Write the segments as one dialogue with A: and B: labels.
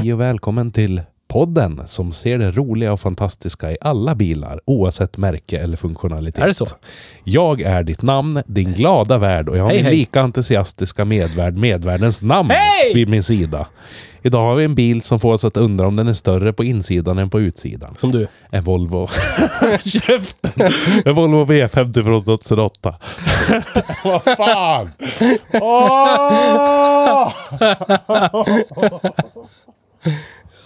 A: Hej och välkommen till podden som ser det roliga och fantastiska i alla bilar oavsett märke eller funktionalitet.
B: Är det så?
A: Jag är ditt namn, din glada värd och jag har
B: Hej,
A: min
B: hej.
A: lika entusiastiska medvärd, medvärdens namn,
B: Hej!
A: vid min sida. Idag har vi en bil som får oss att undra om den är större på insidan än på utsidan.
B: Som du.
A: En Volvo... Käften! En Volvo V50 från 2008. Vad fan! Åh!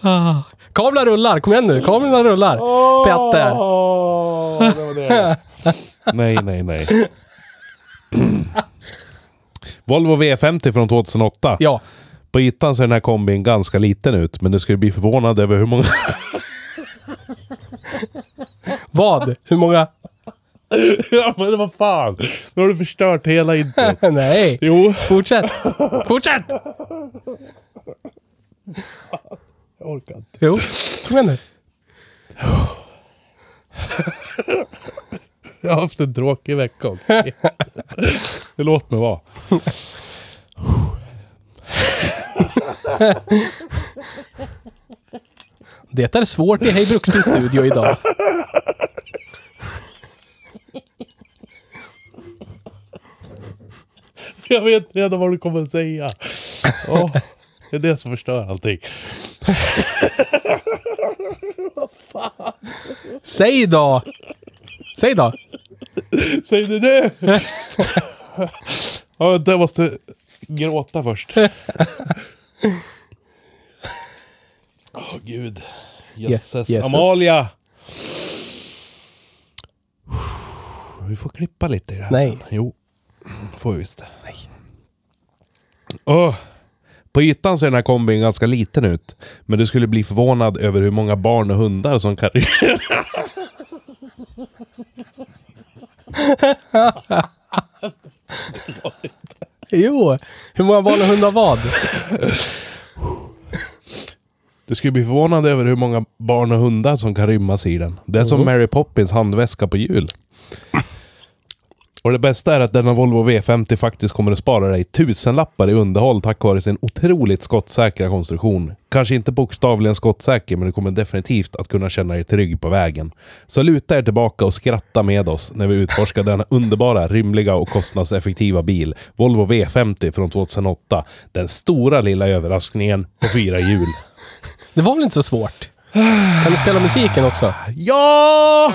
B: Ah. Kablar rullar, kom igen nu. Kablarna rullar. Petter.
A: Åh, det var det. nej, nej, nej. Volvo V50 från 2008.
B: Ja.
A: På ytan ser den här kombin ganska liten ut, men du skulle bli förvånad över hur många...
B: Vad? Hur många?
A: ja, men vad fan! Nu har du förstört hela introt.
B: Nej.
A: Jo.
B: Fortsätt. Fortsätt!
A: Jag orkar inte.
B: Jo. Kom igen nu.
A: Jag har haft en tråkig vecka också. Det Låt mig vara.
B: Det är svårt i Hej Bruksbils studio idag.
A: Jag vet redan vad du kommer att säga. Åh, det är det som förstör allting.
B: Säg då! Säg då!
A: Säg det nu! ja, vänta, jag måste gråta först. Åh, gud. Jösses.
B: Jesus.
A: Amalia! Vi får klippa lite i det här
B: Nej.
A: sen. Jo, får vi visst. Nej. På ytan ser den här kombin ganska liten ut. Men du skulle bli förvånad över hur många barn och hundar som kan...
B: Jo! Hur många barn och hundar vad?
A: Du skulle bli förvånad över hur många barn och hundar som kan rymmas i den. Det är som Mary Poppins handväska på jul. Och det bästa är att denna Volvo V50 faktiskt kommer att spara dig tusenlappar i underhåll tack vare sin otroligt skottsäkra konstruktion. Kanske inte bokstavligen skottsäker, men du kommer definitivt att kunna känna dig trygg på vägen. Så luta er tillbaka och skratta med oss när vi utforskar denna underbara, rymliga och kostnadseffektiva bil. Volvo V50 från 2008. Den stora lilla överraskningen på fyra hjul.
B: Det var väl inte så svårt? Kan du spela musiken också?
A: Ja!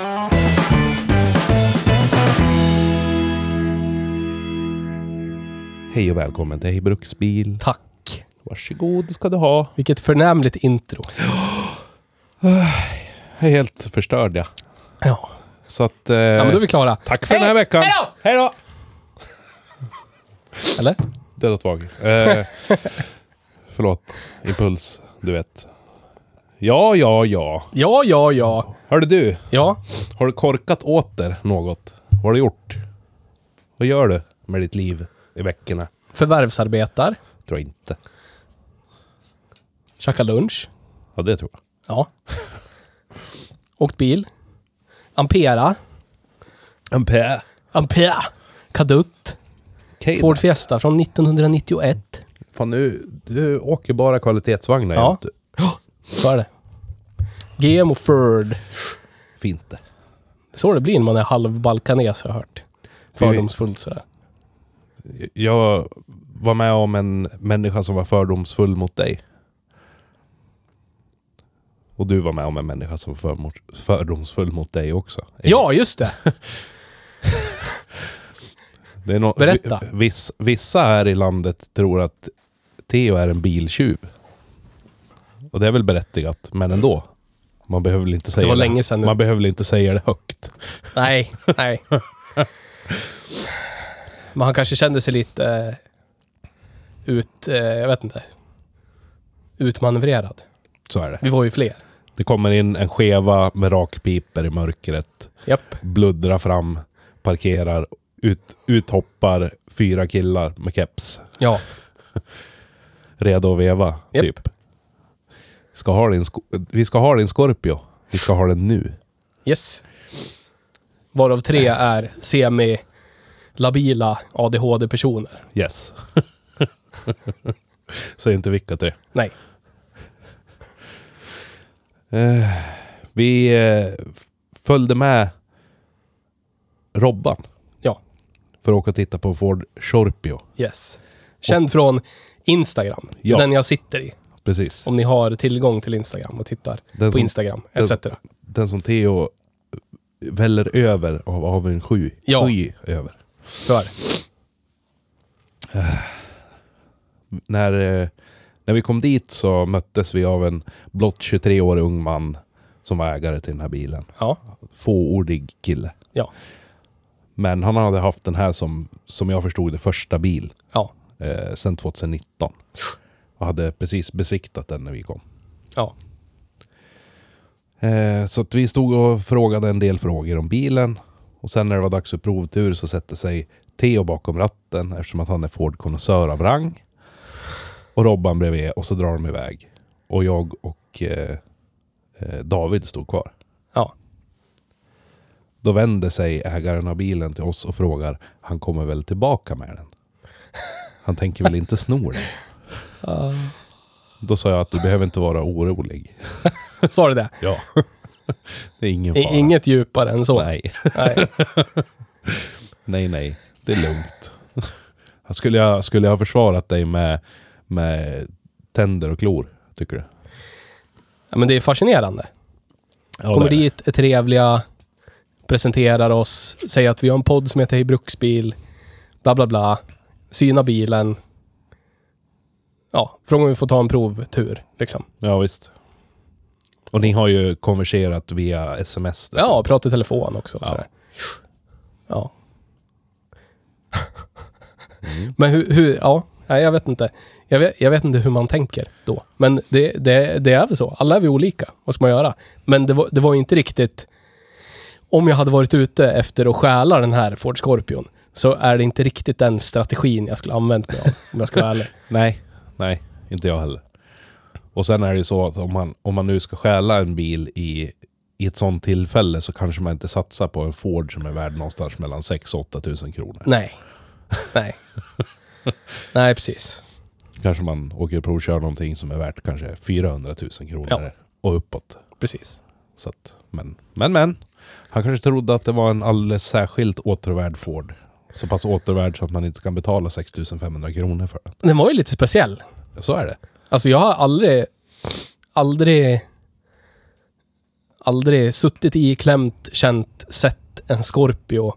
A: Hej och välkommen till Hej Bruksbil.
B: Tack.
A: Varsågod ska du ha.
B: Vilket förnämligt intro.
A: Jag är helt förstörd jag.
B: Ja.
A: Så att... Eh,
B: Ja, men då är vi klara.
A: Tack för den här veckan. Hej då! Hej då!
B: Eller?
A: Det låter vag. Eh, förlåt. Impuls. Du vet. Ja, ja, ja.
B: Ja, ja, ja.
A: Hörde du.
B: Ja.
A: Har du korkat åt dig något? Vad har du gjort? Vad gör du med ditt liv i veckorna?
B: Förvärvsarbetar.
A: Tror jag inte.
B: Käkar lunch.
A: Ja, det tror jag.
B: Ja. Åkt bil. Ampera.
A: En pä.
B: Ampera. Kadutt.
A: Okej.
B: Ford Fiesta från 1991.
A: Fan, nu, du åker bara kvalitetsvagnar.
B: Ja.
A: jämt.
B: Så är det. GM och Ford.
A: Fint det.
B: Så det blir när man är halvbalkanes har jag hört. Fördomsfullt sådär.
A: Jag var med om en människa som var fördomsfull mot dig. Och du var med om en människa som var förmot- fördomsfull mot dig också.
B: Ja, just det!
A: Det är nå-
B: Berätta.
A: vi- Viss, vissa här i landet tror att Theo är en biltjuv. Och det är väl berättigat, men ändå. Man behöver väl inte säga
B: var länge sedan nu.
A: Man behöver väl inte säga det högt.
B: Nej, nej. Men han kanske kände sig lite eh, ut... Eh, jag vet inte. Utmanövrerad.
A: Så är det.
B: Vi var ju fler.
A: Det kommer in en skeva med rakpiper i mörkret.
B: Japp.
A: Bluddrar fram, parkerar, ut, uthoppar fyra killar med keps.
B: Ja.
A: Redo att veva,
B: Japp.
A: typ. Ska ha din sko- vi ska ha din Scorpio. Vi ska ha den nu.
B: Yes. Varav tre är semi-labila ADHD-personer.
A: Yes. Säg inte vilka det är.
B: Nej.
A: Eh, vi eh, f- följde med Robban.
B: Ja.
A: För att åka och titta på en Ford Scorpio.
B: Yes. Känd från Instagram.
A: Ja.
B: Den jag sitter i.
A: Precis.
B: Om ni har tillgång till Instagram och tittar
A: Den
B: på
A: som,
B: Instagram
A: den
B: etc.
A: som- den som Theo väller över av avundsky.
B: Ja.
A: Sky över.
B: Så är det.
A: När, eh, när vi kom dit så möttes vi av en blott 23-årig ung man som var ägare till den här bilen.
B: Ja.
A: Fåordig kille.
B: Ja.
A: Men han hade haft den här som, som jag förstod det, första bil
B: Ja.
A: eh, sedan 2019. Och hade precis besiktat den när vi kom.
B: Ja.
A: Eh, så att vi stod och frågade en del frågor om bilen. Och sen när det var dags för provtur så sätter sig Theo bakom ratten eftersom att han är Ford-konnässör av rang. Och Robban bredvid och så drar de iväg. Och jag och eh, eh, David stod kvar.
B: Ja.
A: Då vänder sig ägaren av bilen till oss och frågar, han kommer väl tillbaka med den? Han tänker väl inte sno den? Ah. Då sa jag att du behöver inte vara orolig.
B: Sa du det?
A: Ja. Det är ingen
B: I,
A: fara.
B: inget djupare än så.
A: Nej.
B: Nej.
A: Nej, nej. Det är lugnt. Skulle jag, skulle jag ha försvarat dig med, med tänder och klor, tycker du?
B: Ja, men det är fascinerande.
A: Ja,
B: Kommer
A: det är det.
B: dit, är trevliga, presenterar oss, säger att vi har en podd som heter Hej Bruksbil, bla bla bla, syna bilen. Ja, frågar om vi får ta en provtur, liksom.
A: Ja, visst. Och ni har ju konverserat via sms. dessutom.
B: Ja, prata i telefon också.
A: Ja.
B: Ja. Sådär. ja. Men hur, hur ja, nej, jag vet inte. Jag vet, jag vet inte hur man tänker då. Men det, det, det är väl så. Alla är vi olika. Vad ska man göra? Men det var, det var ju inte riktigt... Om jag hade varit ute efter att stjäla den här Ford Scorpion så är det inte riktigt den strategin jag skulle ha använt mig av, om jag ska vara ärlig.
A: Nej, nej. Inte jag heller. Och sen är det ju så att om man, om man nu ska stjäla en bil i, i ett sånt tillfälle så kanske man inte satsar på en Ford som är värd någonstans mellan 6 000 och 8 000 kronor.
B: Nej. Nej. Nej, precis.
A: Kanske man åker och provkör någonting som är värt kanske 400 000 kronor
B: Ja.
A: och uppåt.
B: Precis.
A: Så att, men, men, men. Han kanske trodde att det var en alldeles särskilt återvärd Ford. Så pass återvärd så att man inte kan betala 6 500 kronor för den.
B: Den var ju lite speciell.
A: Så är det.
B: Alltså jag har aldrig, aldrig, aldrig suttit i, klämt, känt, sett en Scorpio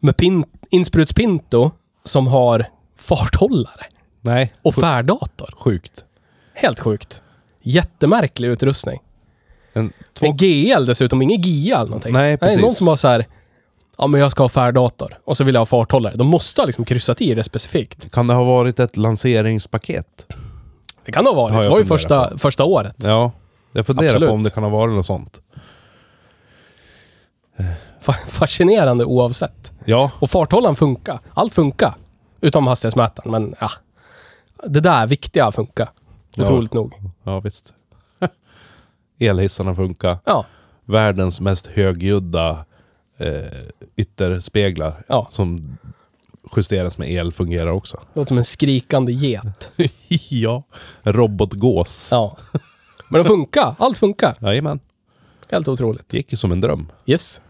B: med pin, insprutspinto som har farthållare
A: Nej,
B: och färddator.
A: sjukt.
B: Helt sjukt. Jättemärklig utrustning.
A: En, två,
B: En GL dessutom, ingen GIA eller någonting.
A: Nej, precis.
B: någon som har så här, ja men jag ska ha färddator och så vill jag ha farthållare. De måste ha liksom kryssat i det specifikt.
A: kan det ha varit ett lanseringspaket?
B: Det kan det ha varit.
A: Har jag
B: det var ju
A: funderat
B: första, första året.
A: Ja, jag funderar
B: Absolut.
A: på om det kan ha varit något sånt.
B: Fa- Fascinerande oavsett.
A: Ja,
B: Och farthållaren funkar. Allt funkar. Utom hastighetsmätaren, men ja. Det där viktiga funkar.
A: Ja.
B: Otroligt nog.
A: ja visst. Elhissarna funkar.
B: Ja,
A: Världens mest högljudda eh, ytterspeglar
B: Ja.
A: som justeras med el fungerar också.
B: låter som en skrikande get.
A: ja, en robotgås.
B: Ja. Men de funkar. Allt funkar.
A: Jajamän.
B: Helt otroligt.
A: Det gick ju som en dröm.
B: Yes.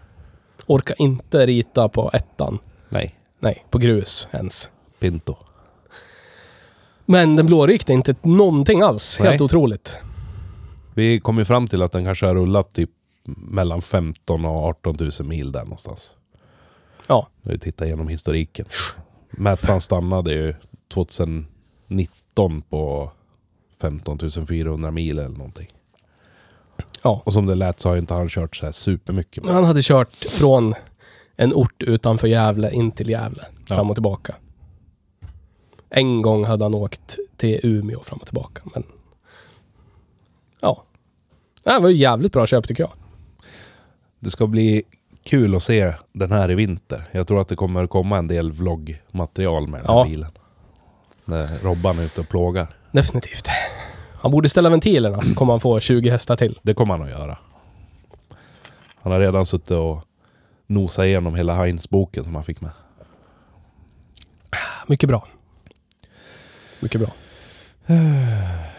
B: Orkar inte rita på ettan.
A: Nej.
B: Nej, på grus ens.
A: Pinto.
B: Men den blårykte inte någonting alls.
A: Nej.
B: Helt otroligt.
A: Vi kom ju fram till att den kanske har rullat typ mellan 15 000 och 18 000 mil där någonstans.
B: Ja.
A: När vi tittar igenom historiken. Mätaren stannade ju 2019 på 15 400 mil eller någonting.
B: Ja.
A: Och som det lät så har ju inte han kört så här supermycket.
B: Han hade kört från en ort utanför Gävle in till Gävle.
A: Ja.
B: Fram och tillbaka. En gång hade han åkt till Umeå fram och tillbaka. Men ja. Det här var ju jävligt bra köp tycker jag.
A: Det ska bli kul att se den här i vinter. Jag tror att det kommer komma en del vloggmaterial med den här
B: Ja.
A: bilen. När Robban är ute och plågar.
B: Definitivt. Han borde ställa ventilerna så kommer han få 20 hästar till.
A: Det kommer han att göra. Han har redan suttit och nosat igenom hela Heinz-boken som han fick med.
B: Mycket bra. Mycket bra.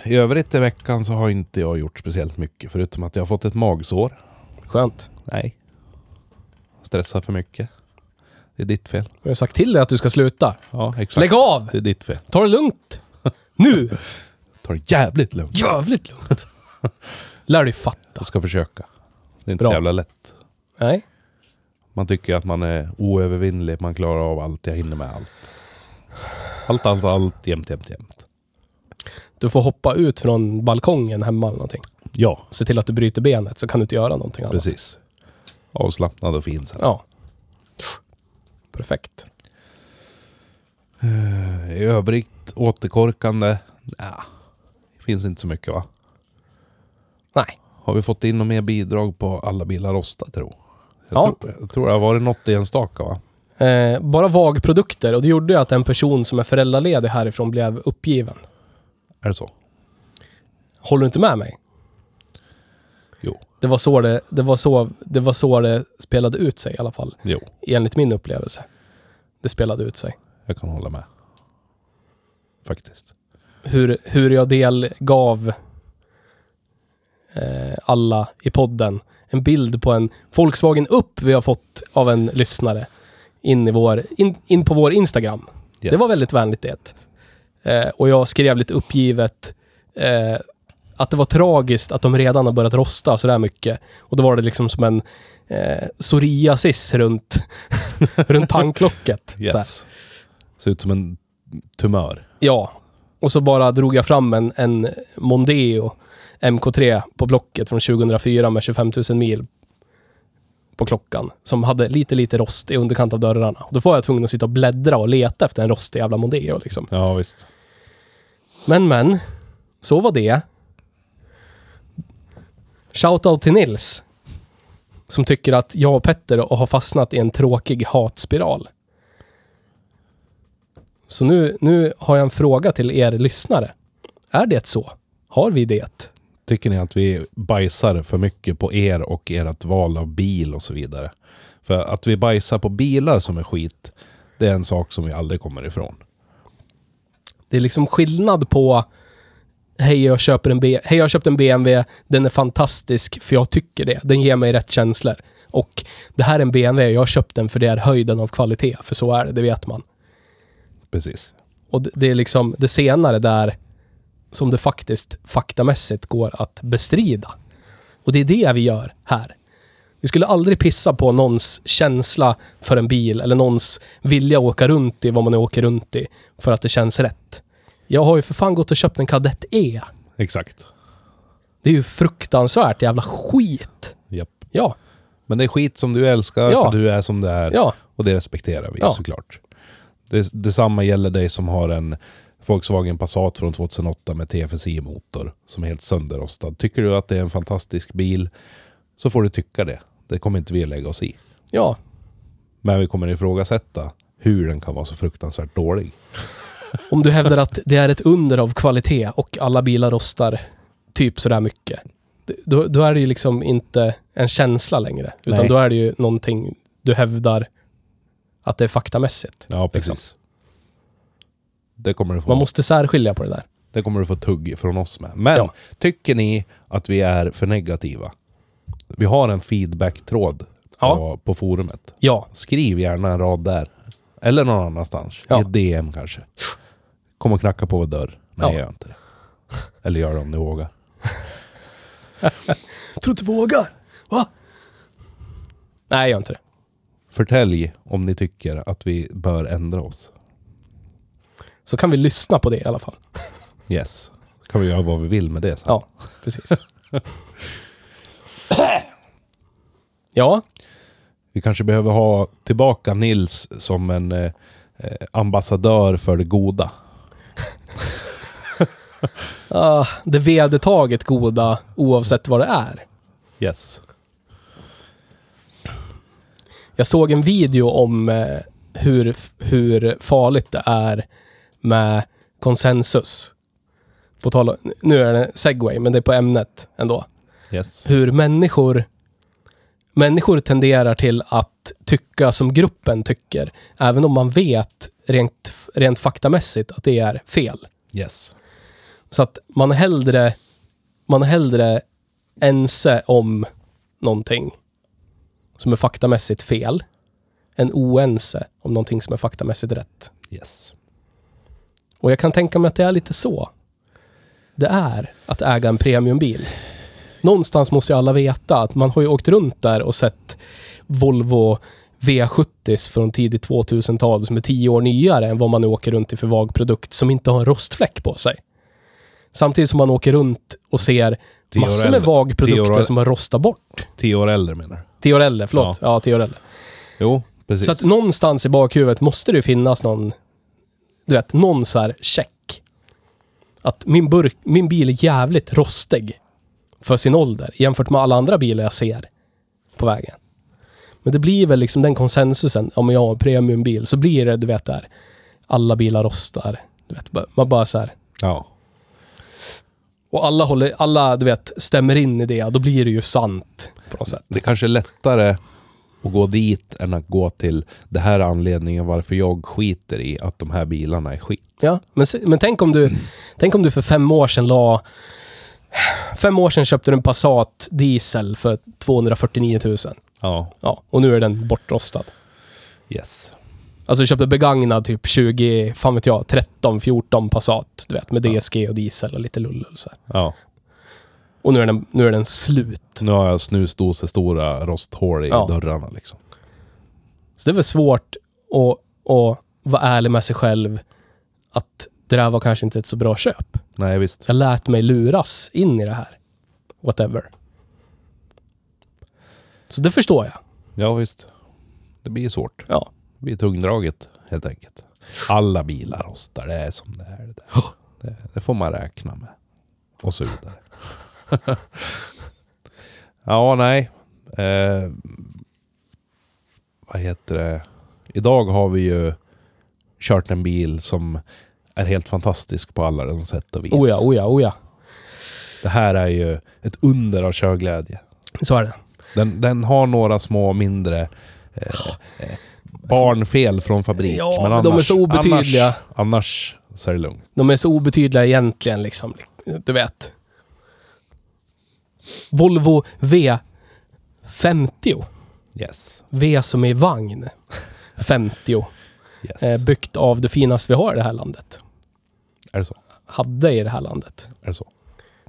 A: I övrigt i veckan så har inte jag gjort speciellt mycket. Förutom att jag har fått ett magsår.
B: Skönt.
A: Nej. Stressar för mycket. Det är ditt fel.
B: Jag har sagt till dig att du ska sluta.
A: Ja, exakt.
B: Lägg av!
A: Det är ditt fel.
B: Ta det lugnt. Nu!
A: Ta det jävligt lugnt.
B: Jävligt lugnt. Lär dig fatta.
A: Jag ska försöka. Det är inte
B: Bra.
A: så jävla lätt.
B: Nej.
A: Man tycker att man är oövervinnlig. Man klarar av allt. Jag hinner med allt. Allt, allt, allt. Jämt, jämt, jämt.
B: Du får hoppa ut från balkongen hemma eller någonting.
A: Ja,
B: Se till att du bryter benet så kan du inte göra någonting annat.
A: precis. Avslappnad och fin sen.
B: Ja. Perfekt. Eh.
A: I övrigt återkorkande? Nja, det finns inte så mycket va?
B: Nej.
A: Har vi fått in något mer bidrag på alla bilar rosta tro? Jag,
B: Ja.
A: tror, jag tror det har varit något enstaka va?
B: Eh, bara vagprodukter och det gjorde ju att en person som är föräldraledig härifrån blev uppgiven.
A: Är det så?
B: Håller du inte med mig?
A: Jo.
B: Det var så det, det, var så, det, var så det spelade ut sig i alla fall.
A: Jo,
B: Enligt min upplevelse. Det spelade ut sig.
A: jag kan hålla med. Faktiskt.
B: Hur, hur jag delgav eh, alla i podden en bild på en Volkswagen Upp vi har fått av en lyssnare in, i vår, in, in på vår Instagram.
A: Yes.
B: Det var väldigt vänligt det. Eh, och jag skrev lite uppgivet eh, att det var tragiskt att de redan har börjat rosta sådär mycket. Och då var det liksom som en eh, psoriasis runt, runt tandklocket. såhär.
A: Yes. Ser ut som en tumör.
B: Ja. Och så bara drog jag fram en, en Mondeo MK3 på Blocket från 2004 med 25 000 mil på klockan. Som hade lite, lite rost i underkant av dörrarna. Och då var jag tvungen att sitta och bläddra och leta efter en rostig jävla Mondeo liksom.
A: Ja visst.
B: Men, men. Så var det. Shoutout till Nils. Som tycker att jag och Petter har fastnat i en tråkig hatspiral. Så nu, nu har jag en fråga till er lyssnare. Är det så? Har vi det?
A: Tycker ni att vi bajsar för mycket på er och ert val av bil och så vidare? För att vi bajsar på bilar som är skit, det är en sak som vi aldrig kommer ifrån.
B: Det är liksom skillnad på Hej, jag, köper en B- Hej, jag har köpt en BMW. Den är fantastisk för jag tycker det. Den ger mig rätt känslor. Och det här är en BMW. Jag har köpt den för det är höjden av kvalitet. För så är det, det vet man.
A: Precis.
B: Och det- det är liksom det senare där som det faktiskt faktamässigt går att bestrida. Och det är det vi gör här. Vi skulle aldrig pissa på någons känsla för en bil eller någons vilja att åka runt i vad man nu åker runt i för att det känns rätt. Jag har ju för fan gått och köpt en Kadett E.
A: Exakt.
B: Det är ju fruktansvärt jävla skit.
A: Japp.
B: Ja,
A: Men det är skit som du älskar,
B: Ja.
A: för du är som du är.
B: ja,
A: Och det respekterar vi
B: Ja.
A: såklart. Det, detsamma gäller dig som har en Volkswagen Passat från 2008 med TFSI-motor som är helt sönderrostad. Tycker du att det är en fantastisk bil så får du tycka det. Det kommer inte vi lägga oss i.
B: ja.
A: Men vi kommer ifrågasätta hur den kan vara så fruktansvärt dålig.
B: Om du hävdar att det är ett under av kvalitet och alla bilar rostar typ sådär mycket. d- Då, då är det ju liksom inte en känsla längre. Utan
A: Nej.
B: då är det ju någonting du hävdar att det är faktamässigt.
A: Ja,
B: precis.
A: Det kommer, du få,
B: Man måste särskilja på det där.
A: det kommer du få tugg från oss med. Men
B: Ja.
A: tycker ni att vi är för negativa? Vi har en feedback-tråd på,
B: Ja.
A: på forumet.
B: Ja,
A: Skriv gärna en rad där. Eller någon annanstans.
B: Ja.
A: I ett DM kanske. Kom och knacka på vår dörr. Nej,
B: Ja.
A: jag gör inte det. Eller gör det om ni vågar.
B: tror du vågar? Va? Nej, gör inte det.
A: Förtälj om ni tycker att vi bör ändra oss.
B: Så kan vi lyssna på det i alla fall.
A: Yes. kan vi göra vad vi vill med det sen.
B: Ja, precis. ja,
A: Vi kanske behöver ha tillbaka Nils som en eh, eh, ambassadör för det goda.
B: ah, det vedertaget goda oavsett vad det är.
A: Yes.
B: Jag såg en video om eh, hur, hur farligt det är med konsensus. På tal om, nu är det segway, men det är på ämnet ändå.
A: Yes.
B: Hur människor, människor tenderar till att tycka som gruppen tycker, även om man vet rent, rent faktamässigt att det är fel.
A: Yes.
B: Så att man är hellre, man är hellre ense om någonting som är faktamässigt fel än oense om någonting som är faktamässigt rätt.
A: Yes.
B: Och jag kan tänka mig att det är lite så. Det är att äga en premiumbil. Någonstans måste ju alla veta att man har ju åkt runt där och sett Volvo V70 från tidigt 2000-tal som är tio år nyare än vad man nu åker runt i för vag produkt som inte har en rostfläck på sig. Samtidigt som man åker runt och ser
A: Tio år
B: massor med
A: äldre. Tio
B: vagprodukter
A: år-
B: som har rostat bort.
A: Tio år äldre menar du?
B: Tio år äldre, förlåt. Ja, tio år äldre.
A: Jo, precis.
B: Så att någonstans i bakhuvudet måste det ju finnas någon, du vet, någon så här check. Att min, burk, min bil är jävligt rostig för sin ålder jämfört med alla andra bilar jag ser på vägen. Men det blir väl liksom den konsensusen, om jag har en premiumbil, så blir det, du vet, där alla bilar rostar. Du vet, bara- man bara så här.
A: Ja.
B: Och alla håller, alla, du vet, stämmer in i det, då blir det ju sant på något sätt.
A: Det kanske är lättare att gå dit än att gå till det här är anledningen varför jag skiter i att de här bilarna är skit.
B: Ja, men, se- men tänk, om du, tänk om du för fem år sedan la... Fem år sedan köpte du en Passat diesel för 249 000.
A: Ja.
B: Ja, och nu är den bortrostad.
A: Yes.
B: Alltså du köpte begagnad typ 20, fan vet jag, 13, 14 Passat. Du vet, med
A: Ja.
B: DSG och diesel och lite lull och så här.
A: Ja.
B: Och nu är den, nu är den slut.
A: Så nu har jag snusdosor stora rosthål i
B: Ja.
A: dörrarna liksom.
B: Så det är väl svårt att, att vara ärlig med sig själv att det där var kanske inte ett så bra köp.
A: Nej, visst.
B: Jag lät mig luras in i det här. Whatever. Så det förstår jag.
A: Ja, visst. Det blir svårt.
B: Ja.
A: Det blir tungdraget helt enkelt. Alla bilar rostar, det är som det är. Det, där. det, det får man räkna med. Och så vidare. ja, nej. Eh, vad heter det? Idag har vi ju kört en bil som är helt fantastisk på alla de sätt och vis.
B: Oh ja, oh ja, oh ja.
A: Det här är ju ett under av körglädje.
B: Så är det.
A: Den, den har några små mindre eh, eh, barnfel från fabrik.
B: Ja, men de är så obetydliga.
A: Annars, annars så är det lugnt.
B: De är så obetydliga egentligen liksom. Du vet. Volvo V50.
A: Yes.
B: V som är vagn. 50.
A: yes.
B: Eh, byggt av det finaste vi har i det här landet.
A: är det så?
B: Hade i det här landet.
A: Är det så?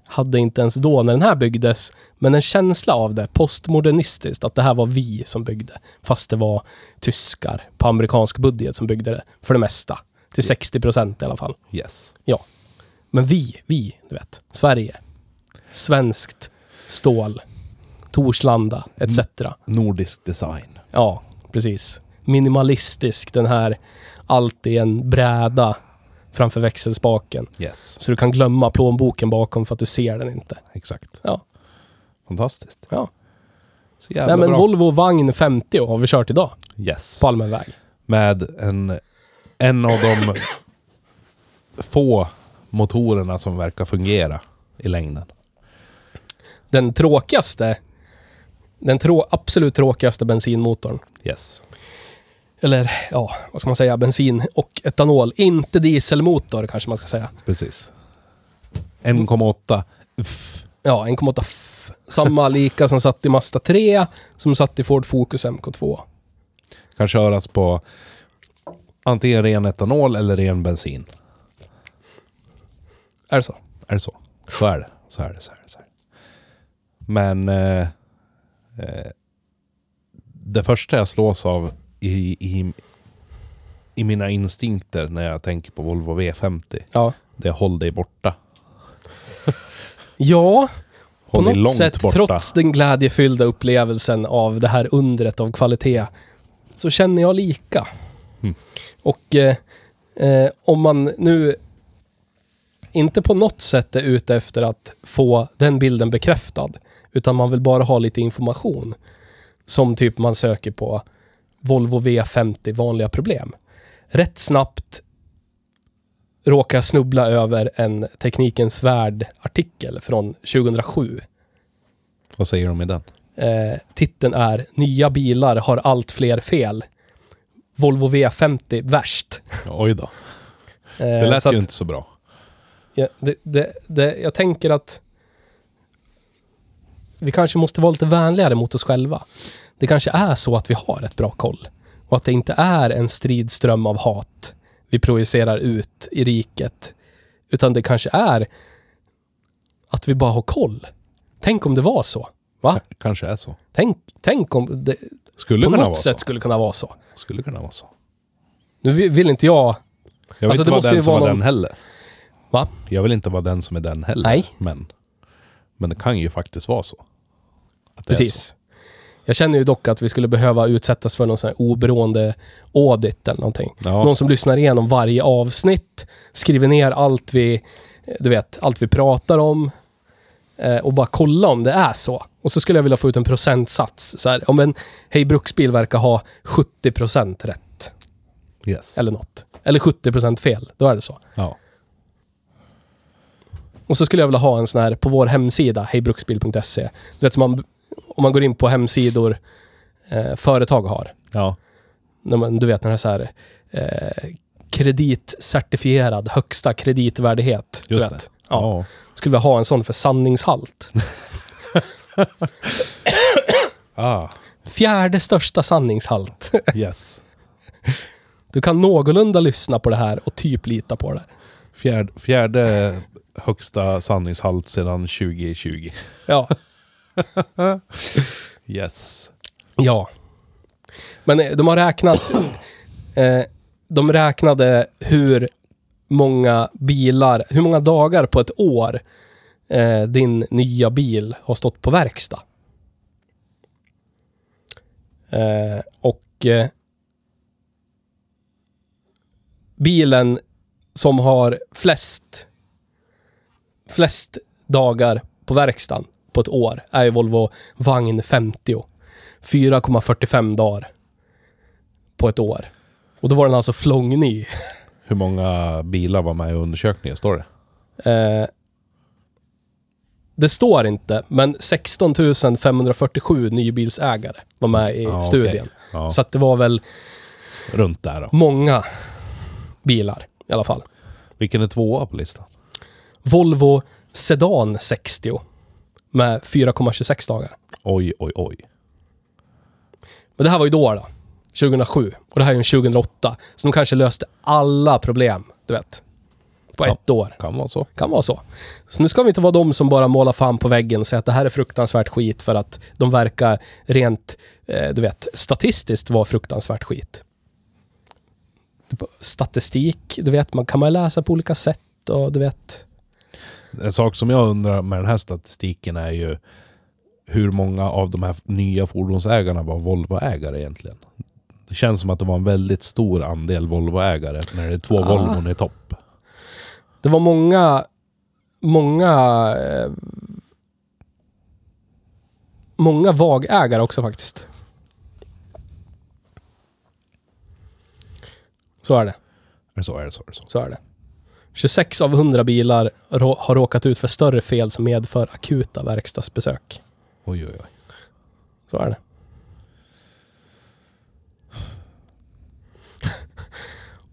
B: hade inte ens då när den här byggdes, men en känsla av det, postmodernistiskt, att det här var vi som byggde. Fast det var tyskar på amerikansk budget som byggde det, för det mesta. Till 60 procent i alla fall.
A: Yes.
B: Ja. Men vi, vi, du vet. Sverige. Svenskt stål. Torslanda, etc.
A: Nordisk design.
B: Ja, precis. Minimalistisk, den här allt i en bräda framför växelspaken.
A: Yes.
B: Så du kan glömma plånboken bakom för att du ser den inte.
A: Exakt.
B: Ja,
A: Fantastiskt.
B: ja.
A: Så jävla
B: Nej, men
A: bra.
B: Volvo vagn 50 har vi kört idag
A: yes.
B: på allmän väg.
A: Med en, en av de få motorerna som verkar fungera i längden.
B: Den tråkigaste, den trå, absolut tråkigaste bensinmotorn.
A: Yes.
B: Eller ja, vad ska man säga, bensin och etanol. Inte dieselmotor kanske man ska säga.
A: Precis.
B: Mm.
A: 1,8. Uff.
B: Ja, 1,8 f. Samma lika som satt i Mazda 3, som satt i Ford Focus MK2.
A: kan köras på antingen ren etanol eller ren bensin.
B: Är det så?
A: Är det så? Så är det. Så är det. Så är det, så är det. Men eh, eh, det första jag slås av i, i, i mina instinkter när jag tänker på Volvo V50,
B: Ja.
A: det är håll dig borta.
B: Ja, på
A: Hon är
B: något
A: långt
B: sätt,
A: borta.
B: trots den glädjefyllda upplevelsen av det här undret av kvalitet, så känner jag lika.
A: Mm.
B: Och eh, eh, om man nu inte på något sätt är ute efter att få den bilden bekräftad, utan man vill bara ha lite information, som typ man söker på Volvo V50 vanliga problem. Rätt snabbt råkar snubbla över en Teknikens Värld-artikel från 2007.
A: Vad säger de i den?
B: Eh, titeln är Nya bilar har allt fler fel. Volvo V50 värst.
A: Oj då.
B: Eh,
A: Det lät
B: så att-
A: ju inte så bra.
B: Ja, det, det, det, jag tänker att vi kanske måste vara lite vänligare mot oss själva. Det kanske är så att vi har ett bra koll och att det inte är en stridström av hat vi projicerar ut i riket, utan det kanske är att vi bara har koll. Tänk om det var så. Va?
A: K- Kanske är så.
B: Tänk, tänk om det
A: Skulle
B: på
A: kunna vara
B: något sätt
A: så.
B: skulle kunna vara så.
A: Skulle kunna vara så.
B: Nu vill vill inte jag...
A: Jag vill
B: Alltså,
A: inte
B: det
A: vara
B: måste ju
A: den som
B: vara
A: är
B: någon-
A: den heller.
B: Va?
A: Jag vill inte vara den som är den heller.
B: Nej.
A: Men, men det kan ju faktiskt vara så. Att det är så.
B: Precis. Jag känner ju dock att vi skulle behöva utsättas för någon sån här oberoende audit eller någonting.
A: Ja.
B: Någon som lyssnar igenom varje avsnitt, skriver ner allt vi, du vet, allt vi pratar om eh, och bara kolla om det är så. Och så skulle jag vilja få ut en procentsats. Så här, om en Hej Bruksbil verkar ha 70% rätt
A: Yes.
B: eller något. Eller 70% fel, då är det så.
A: Ja.
B: Och så skulle jag vilja ha en sån här på vår hemsida, hejbruksbil.se. Du vet, som man, om man går in på hemsidor eh, företag har.
A: ja. när
B: när man, du vet när det är så här eh, kreditcertifierad högsta kreditvärdighet. du
A: Just
B: vet.
A: det.
B: Ja.
A: Ja.
B: Skulle vi ha en sån för sanningshalt?
A: Ah,
B: Fjärde största sanningshalt.
A: yes.
B: Du kan någorlunda lyssna på det här och typ lita på det.
A: Fjärde, fjärde högsta sanningshalt sedan 2020.
B: Ja.
A: Yes.
B: ja. Men eh, de har räknat... Eh, de räknade hur många bilar, hur många dagar på ett år eh, din nya bil har stått på verkstad. Eh, och eh, bilen som har flest, flest dagar på verkstaden på ett år är ju Volvo Vagn 50. 4,45 dagar på ett år. Och då var den alltså flångny.
A: Hur många bilar var med i undersökningen, står det?
B: Eh, det står inte, men 16 547 nybilsägare var med i
A: Ja, okej.
B: studien.
A: Ja,
B: Så att det var väl
A: runt där då.
B: många bilar i alla fall.
A: Vilken är tvåa på listan?
B: Volvo Sedan 60 med 4,26 dagar.
A: Oj, oj, oj.
B: Men det här var ju då, då 2007. Och det här är ju 2008. Så de kanske löste alla problem, du vet. På
A: Ja.
B: ett år.
A: Kan vara så.
B: Kan vara så. Så nu ska vi inte vara de som bara målar fan på väggen och säger att det här är fruktansvärt skit för att de verkar rent, eh, du vet, statistiskt vara fruktansvärt skit. Statistik, du vet, man kan man läsa på olika sätt och du vet.
A: En sak som jag undrar med den här statistiken är ju hur många av de här nya fordonsägarna var Volvo-ägare egentligen? Det känns som att det var en väldigt stor andel Volvo-ägare när det är två
B: Ah.
A: Volvon i topp.
B: Det var många, många, eh, många vagägare också faktiskt. Så är det.
A: Är det så? Är det så? Är det så?
B: Så är det. 26 av 100 bilar rå- har råkat ut för större fel som medför akuta verkstadsbesök.
A: Oj, oj, oj.
B: Så är det.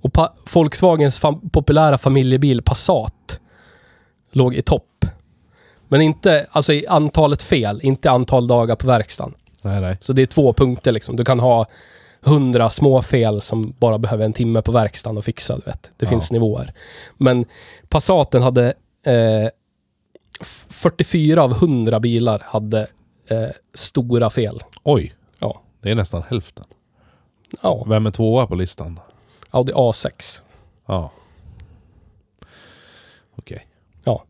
B: Och pa- Volkswagens fam- populära familjebil Passat låg i topp. Men inte alltså i antalet fel, inte antal dagar på verkstaden.
A: Nej, nej.
B: Så det är två punkter liksom. Du kan ha hundra små fel som bara behöver en timme på verkstaden och fixa, du vet. Det
A: Ja.
B: finns nivåer. Men Passaten hade eh, f- 44 av 100 bilar hade eh, stora fel.
A: Oj,
B: Ja.
A: det är nästan hälften.
B: ja.
A: Vem är tvåa på listan?
B: Audi A6.
A: Ja. Okej.
B: Ja.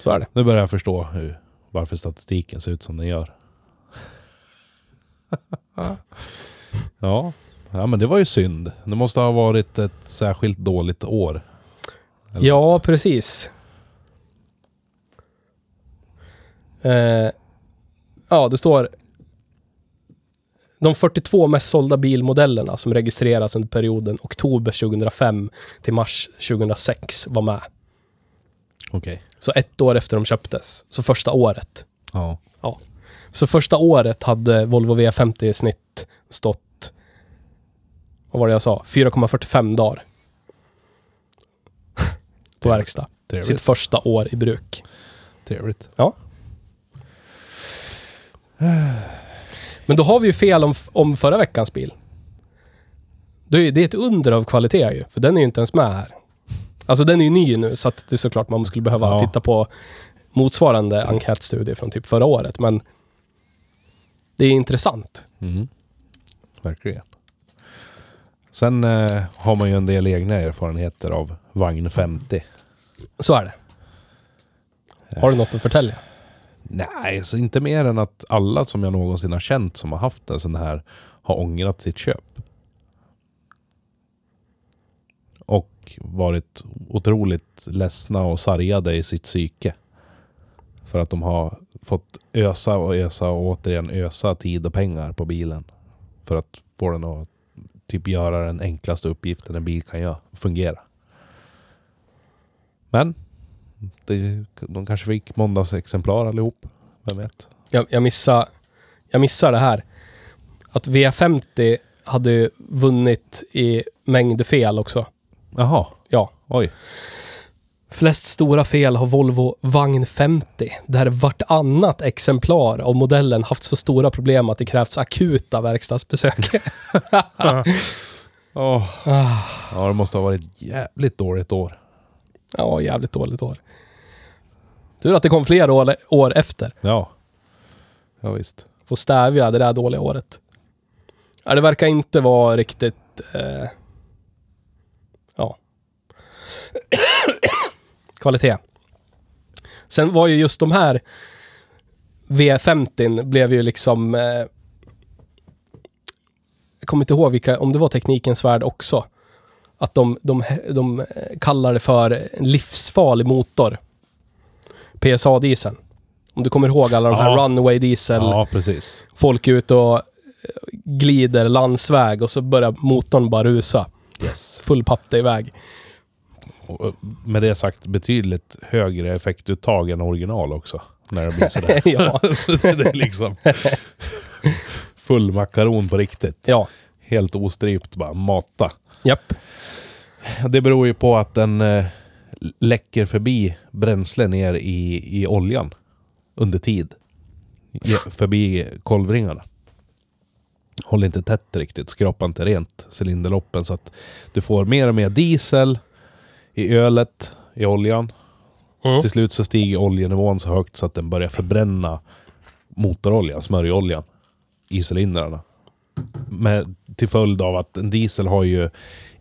B: så är det.
A: Nu börjar jag förstå hur, varför statistiken ser ut som den gör. ja. ja, men det var ju synd. Det måste ha varit ett särskilt dåligt år. Eller
B: Ja,
A: något.
B: precis. Eh, ja, det står... De 42 mest sålda bilmodellerna som registreras under perioden oktober 2005 till mars 2006 var med.
A: Okej.
B: Så ett år efter de köptes. Så första året.
A: Ja.
B: Så första året hade Volvo V50 i snitt stått... Vad var det jag sa? 4,45 dagar. På verkstad.
A: Trevligt.
B: Sitt första år i bruk.
A: Trevligt.
B: Men då har vi ju fel om, om förra veckans bil. Det är, det är ett under av kvalitet ju, för den är ju inte ens med här. Alltså den är ju ny nu, så att det är såklart man skulle behöva
A: Ja.
B: titta på motsvarande enkätstudie från typ förra året, men det är intressant.
A: Mm. Verkligen. Sen eh, har man ju en del egna erfarenheter av vagn 50.
B: Så är det. Har du något att förtälja?
A: Nej, så inte mer än att alla som jag någonsin har känt som har haft en sån här har ångrat sitt köp. Och varit otroligt ledsna och sargade i sitt psyke. För att de har fått ösa och ösa och återigen ösa tid och pengar på bilen. För att få den att typ göra den enklaste uppgiften en bil kan göra, fungera. Men det, de kanske fick måndagsexemplar allihop. Vem vet?
B: Jag, jag, missar, jag missar det här. Att V50 hade ju vunnit i mängd fel också.
A: Jaha,
B: Ja.
A: oj.
B: Flest stora fel har Volvo Vagn 50, där vartannat exemplar av modellen haft så stora problem att det krävts akuta verkstadsbesök.
A: Åh,
B: ah,
A: Ja, det måste ha varit ett jävligt dåligt år.
B: ja, jävligt dåligt år. Tur att det kom fler år, år efter.
A: Ja. Ja visst.
B: Får stävja det där dåliga året. Ja, det verkar inte vara riktigt... Eh, ja. Kvalitet. Sen var ju just de här V50 blev ju liksom... Eh, jag kommer inte ihåg vilka, om det var Teknikens Värld också. Att de, de, de eh, kallar det för en livsfarlig motor. PSA-dieseln. Om du kommer ihåg alla de här
A: Ja.
B: Runaway Diesel
A: Ja, precis.
B: folk är ute och eh, glider landsväg och så börjar motorn bara rusa.
A: Yes.
B: Full patte iväg.
A: Och, och med det sagt betydligt högre effektuttag än original också. När det blir sådär.
B: ja,
A: det är liksom full makaron på riktigt.
B: ja,
A: Helt ostrypt bara mata.
B: japp.
A: Det beror ju på att den eh, läcker förbi bränsle ner i, i oljan under tid. Ge- Förbi kolvringarna. Håller inte tätt riktigt, skrapar inte rent cylinderloppen så att du får mer och mer diesel i ölet, i oljan.
B: Mm.
A: Till slut så stiger oljenivån så högt så att den börjar förbränna motoroljan, smörjoljan, i cylindrarna. Med, till följd av att en diesel har ju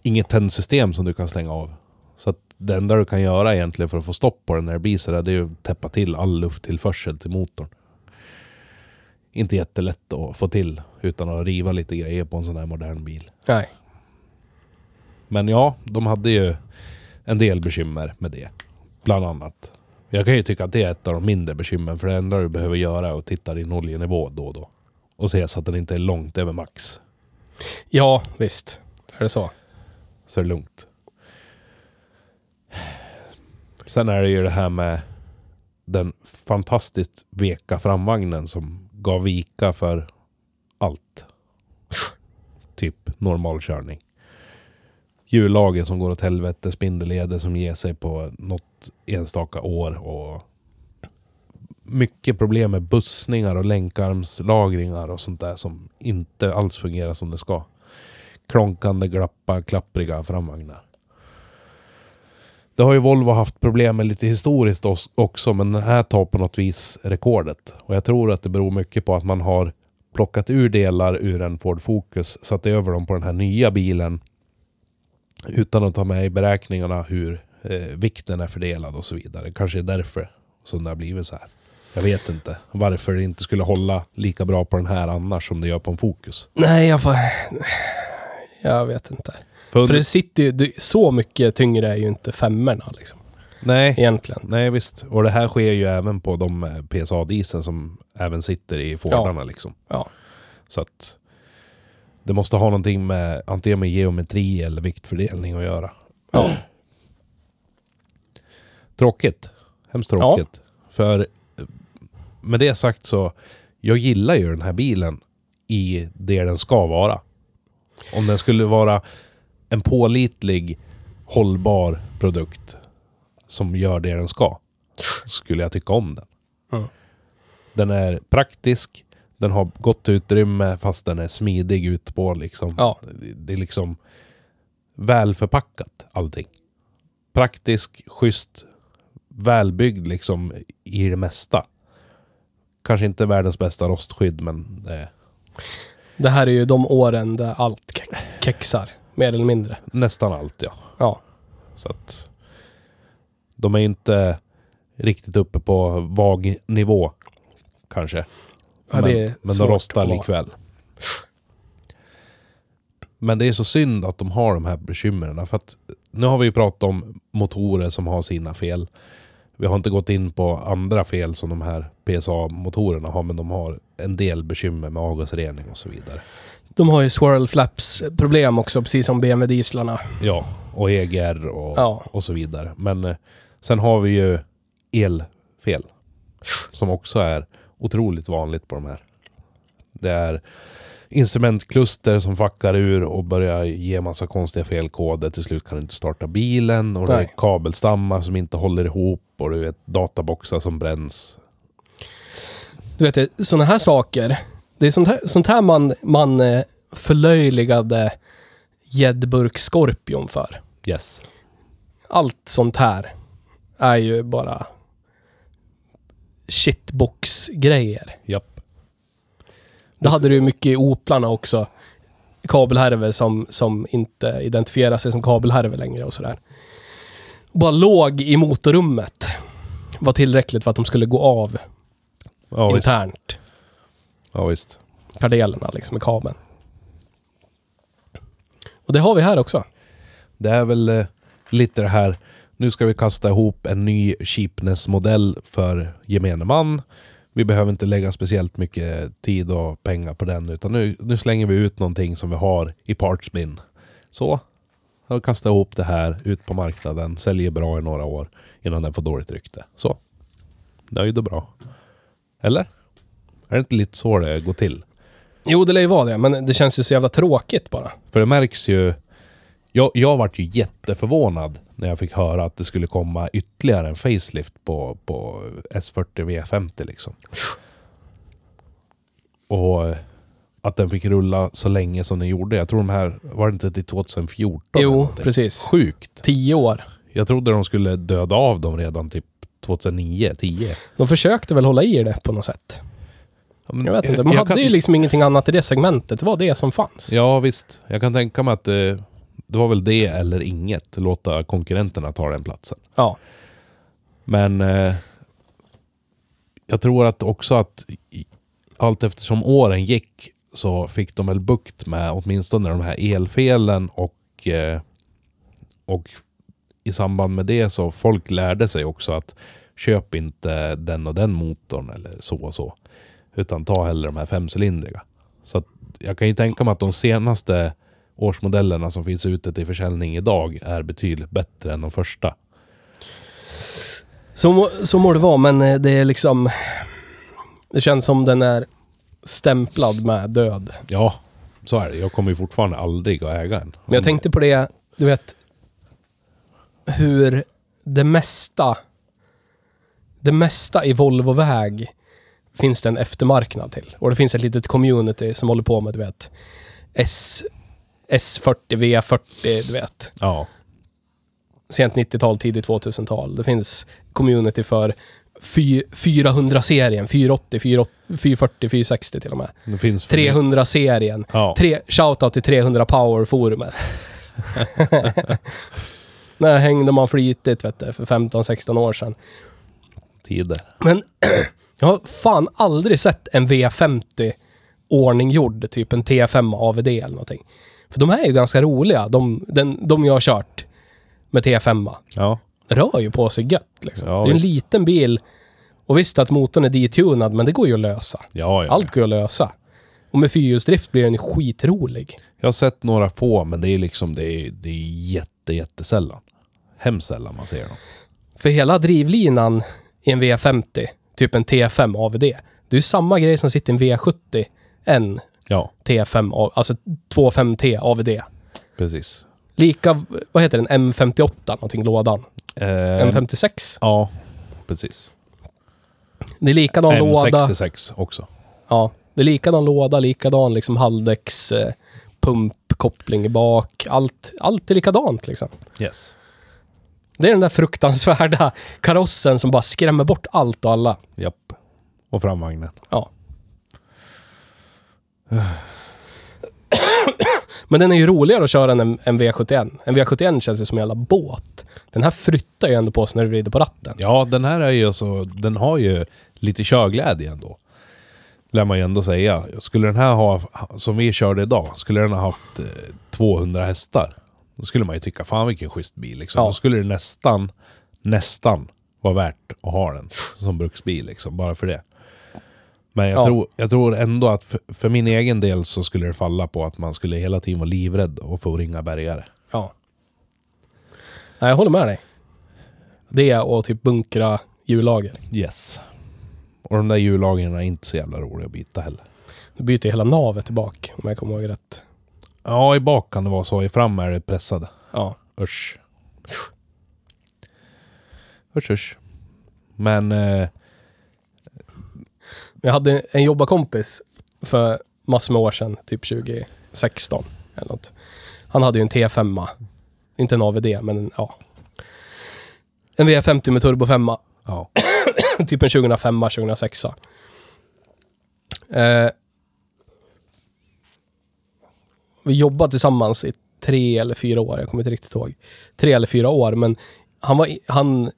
A: inget tändsystem som du kan stänga av. Så att det enda du kan göra egentligen för att få stopp på den när det blir sådär, det är ju att täppa till all lufttillförsel till motorn. Inte jättelätt att få till utan att riva lite grejer på en sån här modern bil.
B: Nej.
A: Men ja, de hade ju en del bekymmer med det. Bland annat. Jag kan ju tycka att det är ett av de mindre bekymren, för det enda du behöver göra är att titta din oljenivå då och då. Och se så att den inte är långt över max.
B: Ja, visst. Är det så?
A: Så är det lugnt. Sen är det ju det här med den fantastiskt veka framvagnen som gav vika för allt. Typ normalkörning. Hjullager som går åt helvete, spindelleder som ger sig på något enstaka år och mycket problem med bussningar och länkarmslagringar och sånt där som inte alls fungerar som det ska klonkande, glappa, klappriga framvagnar. Det har ju Volvo haft problem med lite historiskt os- också, men den här tar på något vis rekordet. Och jag tror att det beror mycket på att man har plockat ur delar ur en Ford Focus, satt över dem på den här nya bilen utan att ta med i beräkningarna hur eh, vikten är fördelad och så vidare. Kanske är därför som det har blivit så här. Jag vet inte varför det inte skulle hålla lika bra på den här annars som det gör på en Focus.
B: Nej, jag får... Jag vet inte.
A: För
B: För det sitter ju... Det, så mycket tyngre är ju inte femmorna liksom.
A: nej,
B: Egentligen.
A: nej, visst. Och det här sker ju även på de eh, PSA-dieseln som även sitter i Fordarna liksom.
B: Ja.
A: Så att det måste ha någonting med antingen med geometri eller viktfördelning att göra.
B: Ja.
A: Tråkigt. Hemskt tråkigt. För eh, med det sagt så, jag gillar ju den här bilen i det den ska vara. Om den skulle vara en pålitlig, hållbar produkt som gör det den ska, skulle jag tycka om den.
B: Mm.
A: Den är praktisk, den har gott utrymme fast den är smidig ut på liksom.
B: Ja.
A: Det- Det är liksom välförpackat allting. Praktisk, schysst, välbyggd liksom i det mesta. Kanske inte världens bästa rostskydd men eh, det är
B: Det här är ju de åren där allt ke- kexar. Mer eller mindre.
A: nästan allt ja.
B: Ja.
A: Så att de är inte riktigt uppe på vag nivå kanske.
B: ja det är
A: men men de
B: svårt
A: rostar
B: att vara.
A: likväl. Men det är så synd att de har de här bekymren. För att nu har vi ju pratat om motorer som har sina fel. Vi har inte gått in på andra fel som de här PSA-motorerna har, men de har en del bekymmer med avgasrening och så vidare.
B: De har ju swirl flaps problem också, precis som BMW dieslarna.
A: Ja, och EGR och,
B: Ja.
A: och så vidare. Men eh, sen har vi ju elfel. Som också är otroligt vanligt på de här. Det är instrumentkluster som fuckar ur och börjar ge massa konstiga felkoder. Till slut kan du inte starta bilen och det
B: Nej.
A: är kabelstammar som inte håller ihop och du vet databoxar som bränns.
B: Du vet, sådana här saker. Det är sånt här, sånt här man, man eh, förlöjligade Jedburg Scorpion för.
A: Yes.
B: Allt sånt här är ju bara shitbox-grejer.
A: Japp.
B: Då hade du ju mycket i oplarna också. Kabelhärvor som, som inte identifierar sig som kabelhärvor längre och sådär. Bara låg i motorrummet var tillräckligt för att de skulle gå av
A: Ja, visst.
B: internt.
A: Ja, visst.
B: Kardelerna liksom med kabeln. Och det har vi här också.
A: Det är väl eh, lite det här, nu ska vi kasta ihop en ny cheapness-modell för gemene man. Vi behöver inte lägga speciellt mycket tid och pengar på den, utan nu, nu slänger vi ut någonting som vi har i partsbin. Så, jag kastar ihop det här ut på marknaden, säljer bra i några år innan den får dåligt rykte. Så, nöjd och bra. Eller? Är det inte lite så det går till?
B: Jo, det lär ju vara det, men det känns ju så jävla tråkigt bara.
A: För det märks ju... Jag, jag vart ju jätteförvånad när jag fick höra att det skulle komma ytterligare en facelift på, på S40 V50 liksom. Och att den fick rulla så länge som den gjorde. Jag tror de här, var det inte till 2014? eller
B: jo,
A: någonting?
B: precis.
A: Sjukt!
B: Tio år.
A: Jag trodde de skulle döda av dem redan typ 2009, 10.
B: De försökte väl hålla i det på något sätt.
A: Ja, men
B: Mm. Jag vet inte.
A: jag-
B: Man
A: jag
B: hade
A: kan-
B: ju liksom ingenting annat i det segmentet. Det var det som fanns.
A: Ja, visst. Jag kan tänka mig att eh, det var väl det eller inget. Låta konkurrenterna ta den platsen.
B: ja.
A: Men eh, jag tror att också att i- allt eftersom åren gick så fick de väl bukt med åtminstone de här elfelen och, eh, och i samband med det så folk lärde sig också att köp inte den och den motorn eller så och så. Utan ta hellre de här femcylindriga. Så att jag kan ju tänka mig att de senaste årsmodellerna som finns ute till försäljning idag är betydligt bättre än de första.
B: Så, må- så må det vara, men eh, det är liksom... Det känns som den är stämplad med död.
A: Ja, så är det. Jag kommer ju fortfarande aldrig att äga en.
B: Men jag tänkte på det, du vet, hur det mesta, det mesta i Volvo-väg finns det en eftermarknad till. Och det finns ett litet community som håller på med, du vet, S, S40, V40, du vet.
A: Ja,
B: sent 90-tal, tidigt 2000-tal. Det finns community för fy- 400-serien, 480, 480, 440, 460 till och med.
A: det finns...
B: 300-serien.
A: Ja.
B: Tre, shoutout till 300 Power-forumet. Där hängde man flitigt vet du, för 15-16 år sedan.
A: tider.
B: Men jag har fan aldrig sett en V50 ordning gjord, typ en T5 AVD eller någonting. För de här är ju ganska roliga, de, den, de jag har kört med T5.
A: Ja.
B: Rör ju på sig gött liksom.
A: Ja,
B: det är en
A: visst.
B: liten bil. Och visst att motorn är detunad, men det går ju att lösa.
A: Ja, ja.
B: Allt går att lösa. Och med fyrhjulsdrift blir den ju skitrolig.
A: Jag har sett några få, men det är liksom det är, det är jätte, jättesällan. Hemskt sällan man ser dem.
B: För hela drivlinan i en V50, typ en T5 AVD, det är ju samma grej som sitter i en V70, en
A: Ja,
B: T5, A- alltså 25T AVD.
A: precis.
B: Lika, vad heter den, M58 någonting, lådan.
A: Eh,
B: M56.
A: ja, precis.
B: Det är likadan låda.
A: M66 också.
B: Ja, det är likadan låda, likadan liksom halvdäcks, eh, pumpkoppling i bak. Allt, allt är likadant liksom.
A: Yes.
B: Det är den där fruktansvärda karossen som bara skrämmer bort allt och alla.
A: Japp. Och framvagnen.
B: Ja. Men den är ju roligare att köra än en, en V71. En V71 känns ju som en jävla båt. Den här flyttar ju ändå på sig när du vrider på ratten.
A: Ja, den här är ju så, den har ju lite körglädje ändå. Lär man ju ändå säga. Skulle den här ha, som vi körde idag, skulle den ha haft eh, 200 hästar. Då skulle man ju tycka, fan vilken schysst bil liksom.
B: Ja.
A: Då skulle det nästan, nästan vara värt att ha den som bruksbil liksom, bara för det. Men jag,
B: Ja.
A: tror, jag tror ändå att för, för min egen del så skulle det falla på att man skulle hela tiden vara livrädd och få ringa bärgare.
B: Ja. Nej, jag håller med dig. Det och typ bunkra hjullager.
A: Yes. Och de där hjullagren är inte så jävla roliga att byta heller.
B: Du byter ju hela navet tillbaka om jag kommer ihåg rätt.
A: Ja, i bak kan det vara så. I fram är det pressade.
B: Ja.
A: Usch. Usch, usch. Men... Eh,
B: Jag hade en jobbarkompis för massor med år sedan, typ 2016 eller något. Han hade ju en T5. a Inte en AVD, men en, ja. En V50 med turbo 5.
A: ja.
B: typ en 2005, 2006. Eh, vi jobbade tillsammans i tre eller fyra år, jag kommer inte riktigt ihåg. Tre eller fyra år, men han var, i- han,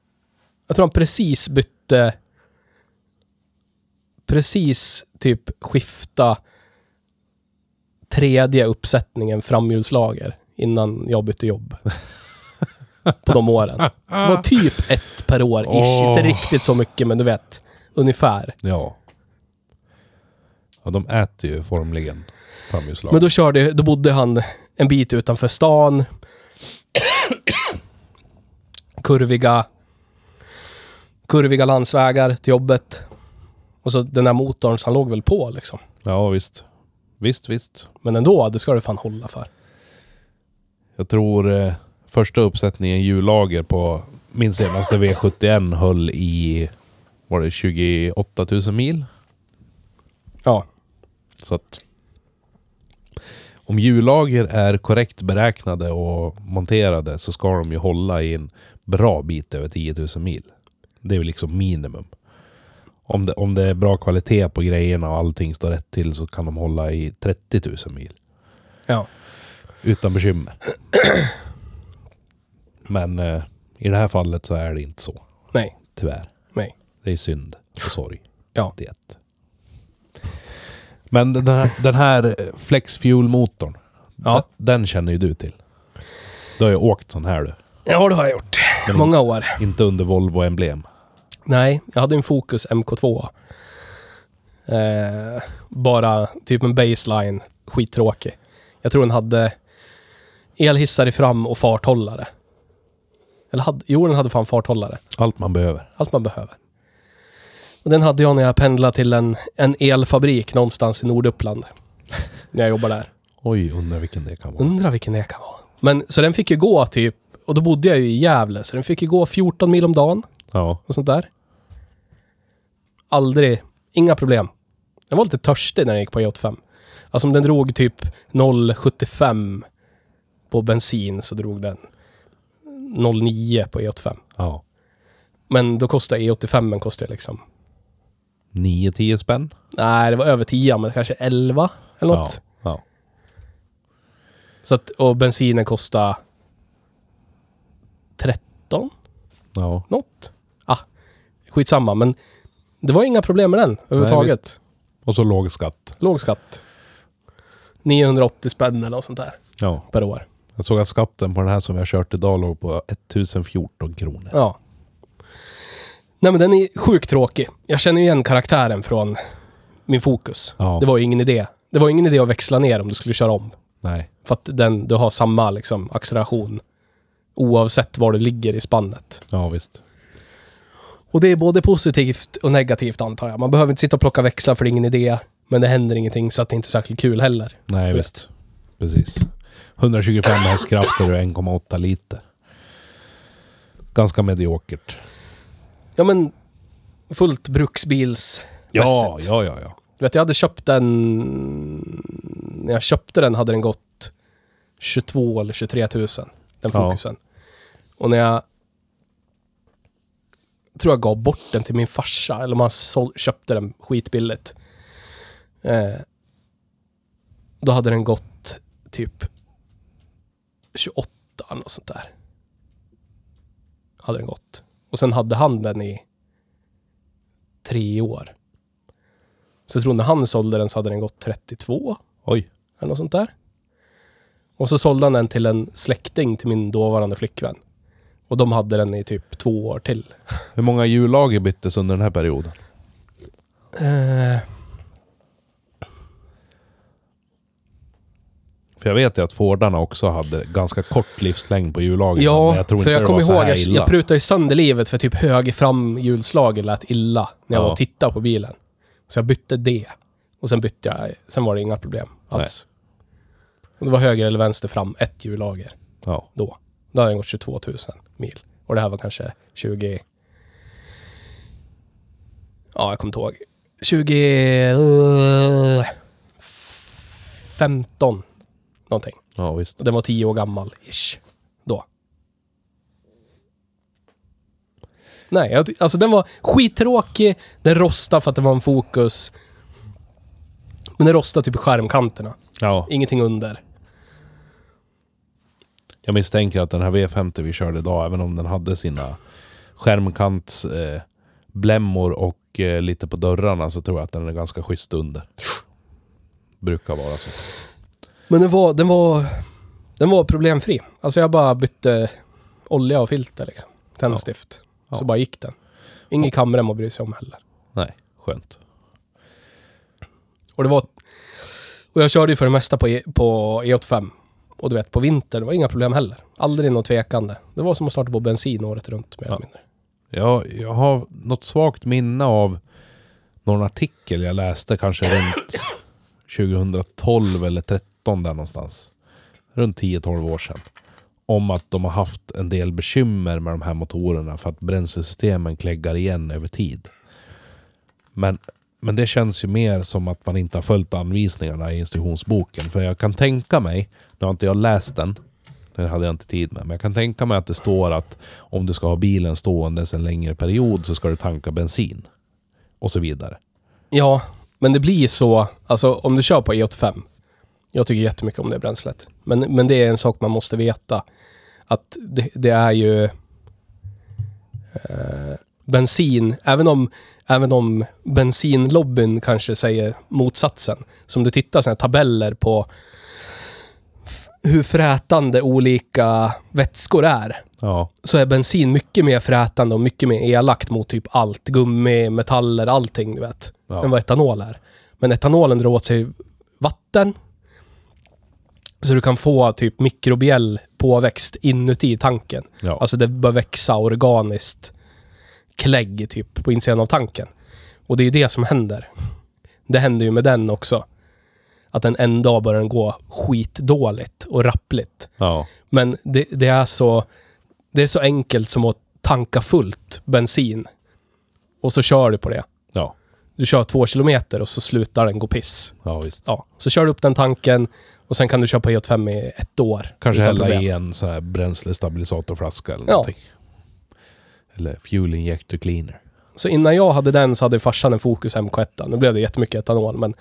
B: jag tror han precis bytte, precis typ skifta tredje uppsättningen framhjulslager innan jag bytte jobb. På de åren. Det var typ ett per år, ish. Inte
A: Åh.
B: riktigt så mycket, men du vet. Ungefär.
A: Ja. Ja, de äter ju formligen framhjulslag.
B: Men då körde, då bodde han en bit utanför stan. kurviga, kurviga landsvägar till jobbet. Och så den där motorn, så han låg väl på liksom.
A: Ja, visst. Visst, visst.
B: Men ändå, det ska du fan hålla för.
A: Jag tror eh, första uppsättningen hjullager på min senaste V71 höll i... Var det 28 000 mil?
B: Ja.
A: Så att om hjullager är korrekt beräknade och monterade så ska de ju hålla i en bra bit över 10 000 mil. Det är väl liksom minimum. Om det, om det är bra kvalitet på grejerna och allting står rätt till så kan de hålla i 30 000 mil.
B: Ja.
A: Utan bekymmer. Men eh, i det här fallet så är det inte så.
B: Nej.
A: Tyvärr.
B: Nej.
A: Det är synd och sorg.
B: Ja.
A: Det. Men den här, den här Flex Fuel-motorn.
B: Ja.
A: Den, den känner ju du till. Du har ju åkt sån här du.
B: Ja, det har jag gjort.
A: Men
B: Många år.
A: Inte under Volvo-emblem.
B: Nej, jag hade en Focus MK2. Eh, bara typ en baseline. Skittråkig. Jag tror den hade elhissar i fram och farthållare. Eller hade, jo, den hade fan farthållare.
A: Allt man behöver.
B: Allt man behöver. Och den hade jag när jag pendlade till en, en elfabrik någonstans i Norduppland. när jag jobbade där.
A: Oj, undrar vilken det kan vara.
B: Undrar vilken det kan vara. Men så den fick ju gå typ, och då bodde jag ju i Gävle, så den fick ju gå 14 mil om dagen
A: Ja.
B: och sånt där. Aldrig, inga problem. Den var lite törstig när den gick på E85. Alltså om den drog typ 0,75 på bensin så drog den 0,9 på E85.
A: ja.
B: Men då kostade E85 en kostade liksom,
A: 9-10 spänn.
B: nej det var över 10 men kanske 11 eller något.
A: Ja.
B: Så att, och bensinen kostade 13.
A: Ja.
B: något. Ah, skitsamma. Men det var inga problem med den överhuvudtaget.
A: Och så låg skatt.
B: Låg skatt. 980 spänn eller något sånt där
A: Ja.
B: per år.
A: Jag såg att skatten på den här som jag kört idag låg på 1014 kronor.
B: Ja. Nej men den är sjukt tråkig. Jag känner ju igen karaktären från min fokus.
A: Ja.
B: Det var ju ingen idé. Det var ingen idé att växla ner om du skulle köra om.
A: Nej.
B: För att den, du har samma liksom, acceleration oavsett var du ligger i spannet.
A: Ja, visst.
B: Och det är både positivt och negativt antar jag. Man behöver inte sitta och plocka växlar för det är ingen idé. Men det händer ingenting så att det inte är särskilt kul heller.
A: Nej,
B: Du vet.
A: visst. Precis. 125 hästkrafter och 1,8 liter. Ganska mediokert.
B: Ja men, fullt bruksbils...
A: Ja,
B: Mässigt.
A: ja, ja, ja.
B: Du vet, jag hade köpt den... När jag köpte den hade den gått 22 eller 23 000. Den
A: Ja.
B: fokusen. Och när jag... tror jag gav bort den till min farsa. Eller om han sål, köpte den skitbilligt. Eh, då hade den gått typ 28 eller något sånt där. Hade den gått. Och sen hade han den i tre år. Så jag tror när han sålde den så hade den gått 32
A: Oj.
B: eller något sånt där. Och så sålde han den till en släkting till min dåvarande flickvän. Och de hade den i typ två år till.
A: Hur många hjullager byttes under den här perioden?
B: Eh,
A: För jag vet ju att Fordarna också hade ganska kort livslängd på hjullagren.
B: ja,
A: men jag tror
B: för
A: inte
B: jag
A: det
B: kommer
A: var så
B: ihåg,
A: här
B: jag,
A: illa.
B: jag prutade ju sönder livet för typ höger fram hjulslaget lät illa när jag
A: Ja.
B: var och tittade på bilen. Så jag bytte det. Och sen bytte jag, sen var det inga problem alls. Och det var höger eller vänster fram, ett hjullager.
A: Ja,
B: då. Då hade den gått 22 000 mil. Och det här var kanske 20... Ja, jag kommer inte ihåg. 20... eh, f- 15 någonting.
A: ja visst.
B: Så den var 10 år gammal, ish. Då. Nej, jag, ty- alltså den var skittråkig. Den rostade för att det var en fokus. Men den rostade typ i skärmkanterna.
A: Ja,
B: Ingenting under.
A: jag misstänker att den här V50 vi körde idag, även om den hade sina skärmkantsblämmor eh, blämmor och eh, lite på dörrarna, så tror jag att den är ganska schysst under. Brukar vara så.
B: Men den var, den var, den var problemfri. Alltså jag bara bytte olja och filter liksom. Tändstift.
A: Ja.
B: Så bara gick den. Ingen kamrem att bry sig om heller.
A: Nej, skönt.
B: Och det var... Och jag körde ju för det mesta på, e, på E85. Och du vet, på vintern, det var inga problem heller. Aldrig något tvekande. Det var som att starta på bensin året runt, mer eller
A: Ja.
B: mindre.
A: Jag, jag har något svagt minne av någon artikel jag läste kanske runt 2012 eller 13 där någonstans. Runt 10-12 år sedan. Om att de har haft en del bekymmer med de här motorerna för att bränslesystemen kläggar igen över tid. Men, men det känns ju mer som att man inte har följt anvisningarna i instruktionsboken. För jag kan tänka mig, nu har inte jag läst den, det hade jag inte tid med, men jag kan tänka mig att det står att om du ska ha bilen stående en längre period så ska du tanka bensin. Och så vidare.
B: Ja, men det blir så. Alltså om du kör på E85. Jag tycker jättemycket om det bränslet. Men, men det är en sak man måste veta. Att det, det är ju eh, bensin. Även om, även om bensinlobbyn kanske säger motsatsen. Så om du tittar såna här tabeller på f- hur frätande olika vätskor är
A: Ja,
B: så är bensin mycket mer frätande och mycket mer elakt mot typ allt. Gummi, metaller, allting du vet.
A: Ja.
B: Än vad etanol är. Men etanolen drar åt sig vatten. Så du kan få typ mikrobiell påväxt inuti tanken.
A: ja,
B: Alltså det bör växa organiskt klägg typ på insidan av tanken. Och det är ju det som händer. Det händer ju med den också. Att den en dag börjar den gå skitdåligt och rappligt.
A: ja,
B: Men det, det är så... Det är så enkelt som att tanka fullt bensin. Och så kör du på det.
A: ja,
B: Du kör två kilometer och så slutar den gå piss.
A: ja visst.
B: Ja. Så kör du upp den tanken och sen kan du köpa E85 i ett år.
A: Kanske
B: utan
A: hälla
B: problem.
A: i en sån här bränslestabilisatorflaska eller
B: Ja.
A: någonting. Eller fuel injector cleaner.
B: Så innan jag hade den så hade farsan en Focus MK1. Nu blev det jättemycket etanol, men...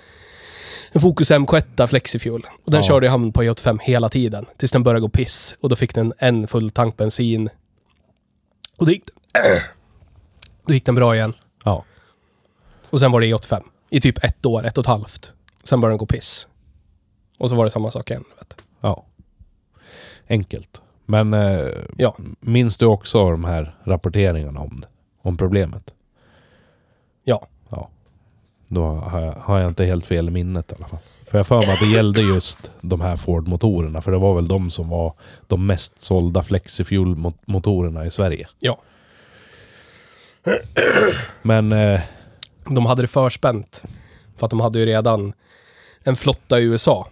B: En Focus MK1 Flexifuel. Och den
A: Ja.
B: körde jag hamn på E85 hela tiden. Tills den började gå piss. Och då fick den en full tank bensin. Och det gick... Då gick den bra igen.
A: Ja.
B: Och sen var det E85. I typ ett år, ett och ett halvt. Sen började den gå piss. Och så var det samma sak igen. Vet. du.
A: ja. Enkelt. Men eh,
B: Ja.
A: minns du också de här rapporteringarna om det? Om problemet?
B: Ja.
A: Ja. Då har jag, har jag inte helt fel i minnet i alla fall. För jag har för mig att det gällde just de här Ford-motorerna. För det var väl de som var de mest sålda Flexifuel-motorerna i Sverige.
B: Ja.
A: Men eh,
B: De hade det förspänt. För att de hade ju redan en flotta i USA.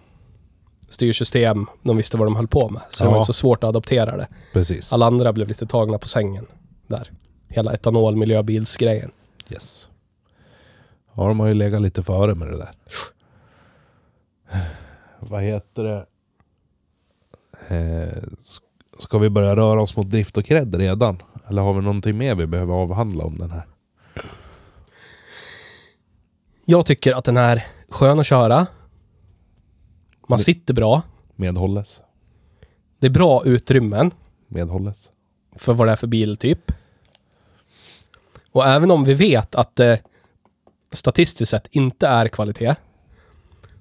B: Styrsystem, de visste vad de höll på med. Så det
A: Ja.
B: var inte så svårt att adoptera det.
A: precis.
B: Alla andra blev lite tagna på sängen där. Hela etanolmiljöbilsgrejen.
A: Yes. Ja, de har ju legat lite före med det där. Vad heter det? Eh, s- ska vi börja röra oss mot drift och cred redan? Eller har vi någonting mer vi behöver avhandla om den här?
B: Jag tycker att den är skön att köra. Man
A: Det-
B: sitter bra.
A: Medhålles.
B: Det är bra utrymmen
A: Medhålles.
B: för vad det är för biltyp. Och även om vi vet att det statistiskt sett inte är kvalitet,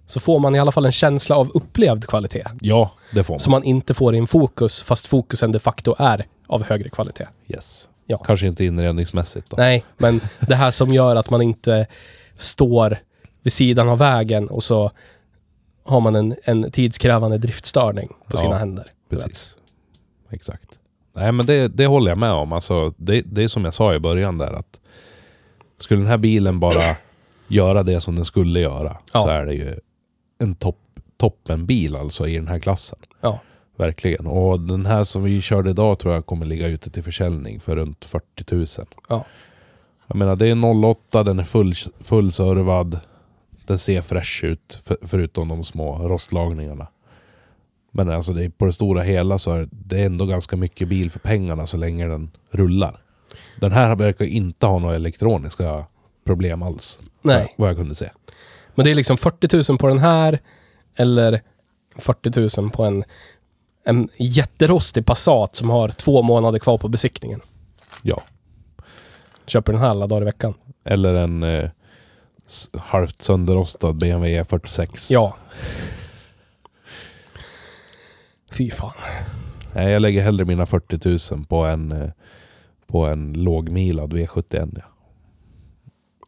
B: så får man i alla fall en känsla av upplevd kvalitet.
A: Ja, det får man.
B: Som man inte får i en fokus, fast fokusen de facto är av högre kvalitet.
A: Yes.
B: Ja.
A: Kanske inte inredningsmässigt då.
B: Nej, men det här som gör att man inte står vid sidan av vägen och så har man en, en tidskrävande driftstörning på
A: Ja,
B: sina händer.
A: Precis. Exakt. Nej, men det, det håller jag med om. Alltså, det, det är som jag sa i början där att skulle den här bilen bara göra det som den skulle göra
B: Ja.
A: så är det ju en topp, toppenbil alltså i den här klassen.
B: Ja.
A: Verkligen. Och den här som vi körde idag tror jag kommer ligga ute till försäljning för runt 40 000.
B: Ja.
A: Jag menar, det är 08, den är full, fullservad. Den ser fräsch ut, för, förutom de små rostlagningarna. Men alltså det, är- på det stora hela så är det ändå ganska mycket bil för pengarna så länge den rullar. Den här verkar inte ha några elektroniska problem alls.
B: Nej.
A: Vad jag kunde se.
B: Men det är liksom 40 000 på den här eller 40 000 på en, en jätterostig Passat som har två månader kvar på besiktningen.
A: Ja.
B: Köper den här alla dagar i veckan.
A: Eller en eh, s- halvt sönderrostad BMW E46.
B: Ja. Fy fan.
A: Nej, jag lägger hellre mina 40 000 på en, eh, på en lågmilad V71. Ja.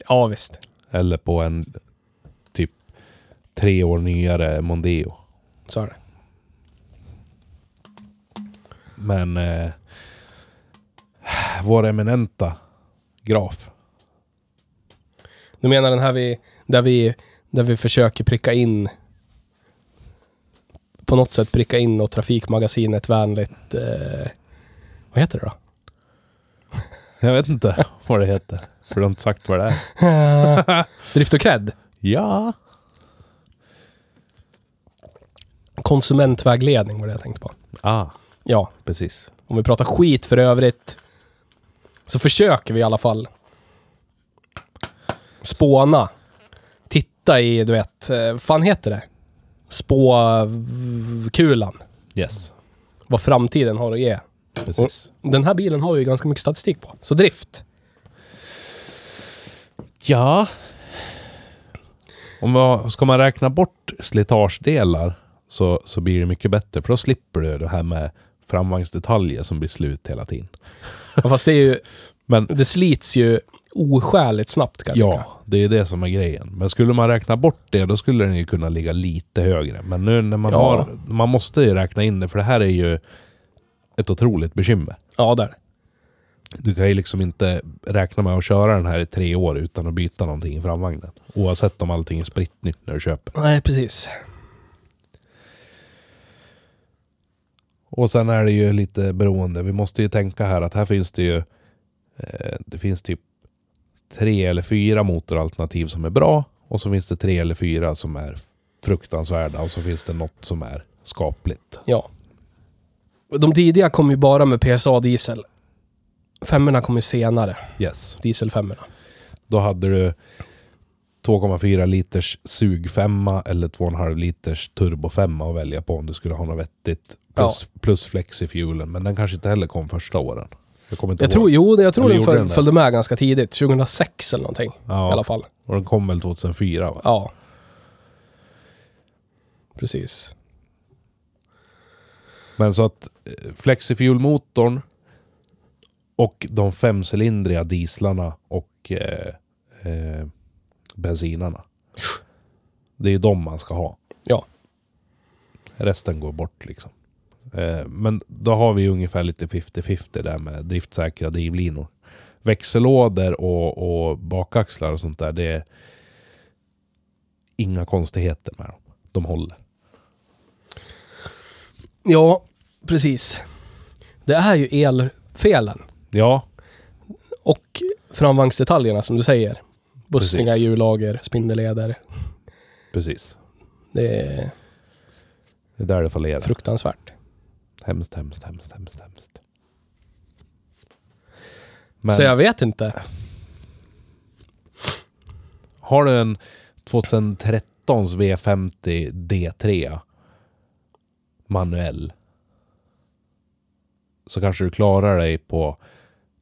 B: Ja, visst.
A: Eller på en typ tre år nyare Mondeo.
B: Så är det.
A: Men eh, vår eminenta graf.
B: Du menar den här vi, där vi, där vi försöker pricka in på något sätt pricka in och Trafikmagasinet vänligt... Eh, vad heter det då?
A: Jag vet inte vad det heter. För de har inte sagt vad det är.
B: Drift och cred.
A: Ja.
B: Konsumentvägledning var det jag tänkte på.
A: Ah,
B: Ja,
A: precis.
B: om vi pratar skit för övrigt så försöker vi i alla fall spåna. Titta i, du vet, eh, vad fan heter det? Spåkulan.
A: Yes,
B: Vad framtiden har att ge.
A: precis.
B: Den här bilen har vi ju ganska mycket statistik på. Så drift.
A: Ja. Om man, ska man räkna bort slitagedelar så, så blir det mycket bättre. För då slipper du det här med framvagnsdetaljer som blir slut hela tiden.
B: Ja, Fast det är ju,
A: Men
B: det slits ju oskäligt snabbt kan jag tycka.
A: Ja, det är det som är grejen. Men skulle man räkna bort det, då skulle den ju kunna ligga lite högre. Men nu när man
B: Ja.
A: har... Man måste ju räkna in det, för det här är ju ett otroligt bekymmer.
B: Ja, där.
A: Du kan ju liksom inte räkna med att köra den här i tre år utan att byta någonting i framvagnen. Oavsett om allting är spritt nytt när du köper.
B: Nej, precis.
A: Och sen är det ju lite beroende. Vi måste ju tänka här att här finns det ju... Eh, det finns typ tre eller fyra motoralternativ som är bra. Och så finns det tre eller fyra som är fruktansvärda. Och så finns det något som är skapligt.
B: Ja. De tidiga kom ju bara med PSA-diesel. Femmerna kom ju senare.
A: Yes.
B: Dieselfemmorna.
A: Då hade du 2,4 liters sugfemma eller 2,5 liters turbofemma att välja på om du skulle ha något vettigt. Plus, plus flexifuelen. Men den kanske inte heller kom första åren. Jag kommer inte
B: Jag
A: ihåg.
B: tror, jo, jag tror
A: Eller
B: den,
A: gjorde
B: föl,
A: den det?
B: följde med ganska tidigt. 2006 eller någonting
A: ja.
B: i alla fall.
A: Och den kom väl 2004 va?
B: Ja. Precis.
A: Men så att eh, flexifuel-motorn och de femcylindriga dieslarna och eh, eh, bensinarna. Det är ju de man ska ha.
B: Ja.
A: Resten går bort liksom. Eh, men då har vi ju ungefär lite 50-50 där med driftsäkra drivlinor. Växellådor och, och bakaxlar och sånt där, det är inga konstigheter med dem. De håller.
B: Ja, precis. Det är ju elfelen
A: Ja,
B: och framvagnsdetaljerna som du säger. Bussningar,
A: Precis.
B: hjullager, spindelleder.
A: precis.
B: Det är
A: Det är där det fallerar.
B: fruktansvärt.
A: Hemskt, hemskt, hemskt, hemskt, hemskt. Men
B: Så jag vet inte.
A: har du en 2013s V50 D3 manuell så kanske du klarar dig på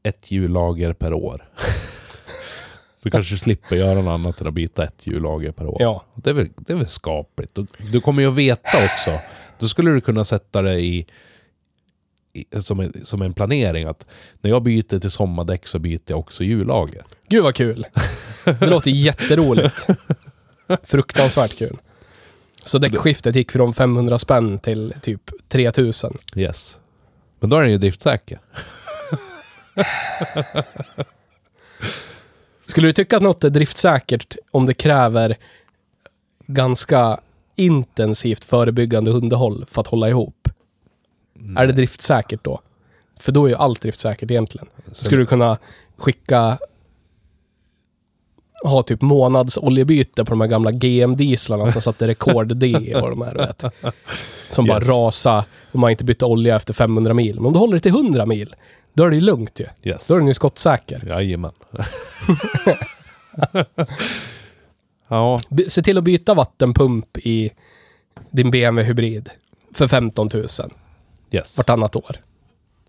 A: ett hjullager per år. du kanske slipper göra något annat än att byta ett hjullager per år.
B: Ja.
A: Det är väl, det är väl skapligt. Och Du kommer ju att veta också. Då skulle du kunna sätta det i, i som, en, som en planering att när jag byter till sommardäck så byter jag också hjullager.
B: Gud vad kul. Det låter jätteroligt. Fruktansvärt kul. Så däckskiftet gick från 500 spänn till typ 3000.
A: Yes. Men då är den ju driftsäker.
B: Skulle du tycka att något är driftsäkert om det kräver ganska intensivt förebyggande underhåll för att hålla ihop? Är det driftsäkert då? För då är ju allt driftsäkert egentligen. Skulle du kunna skicka ha typ månads oljebyte på de här gamla GM-dieslarna som satte rekord-D och de här, du vet. Som bara
A: Yes.
B: rasa och man inte bytte olja efter 500 mil. Men om du håller det till 100 mil, då är det ju lugnt ju.
A: Yes.
B: Då är den ju skottsäker.
A: Jajamän. ja,
B: By- Se till att byta vattenpump i din BMW Hybrid för 15 000
A: yes.
B: vartannat år.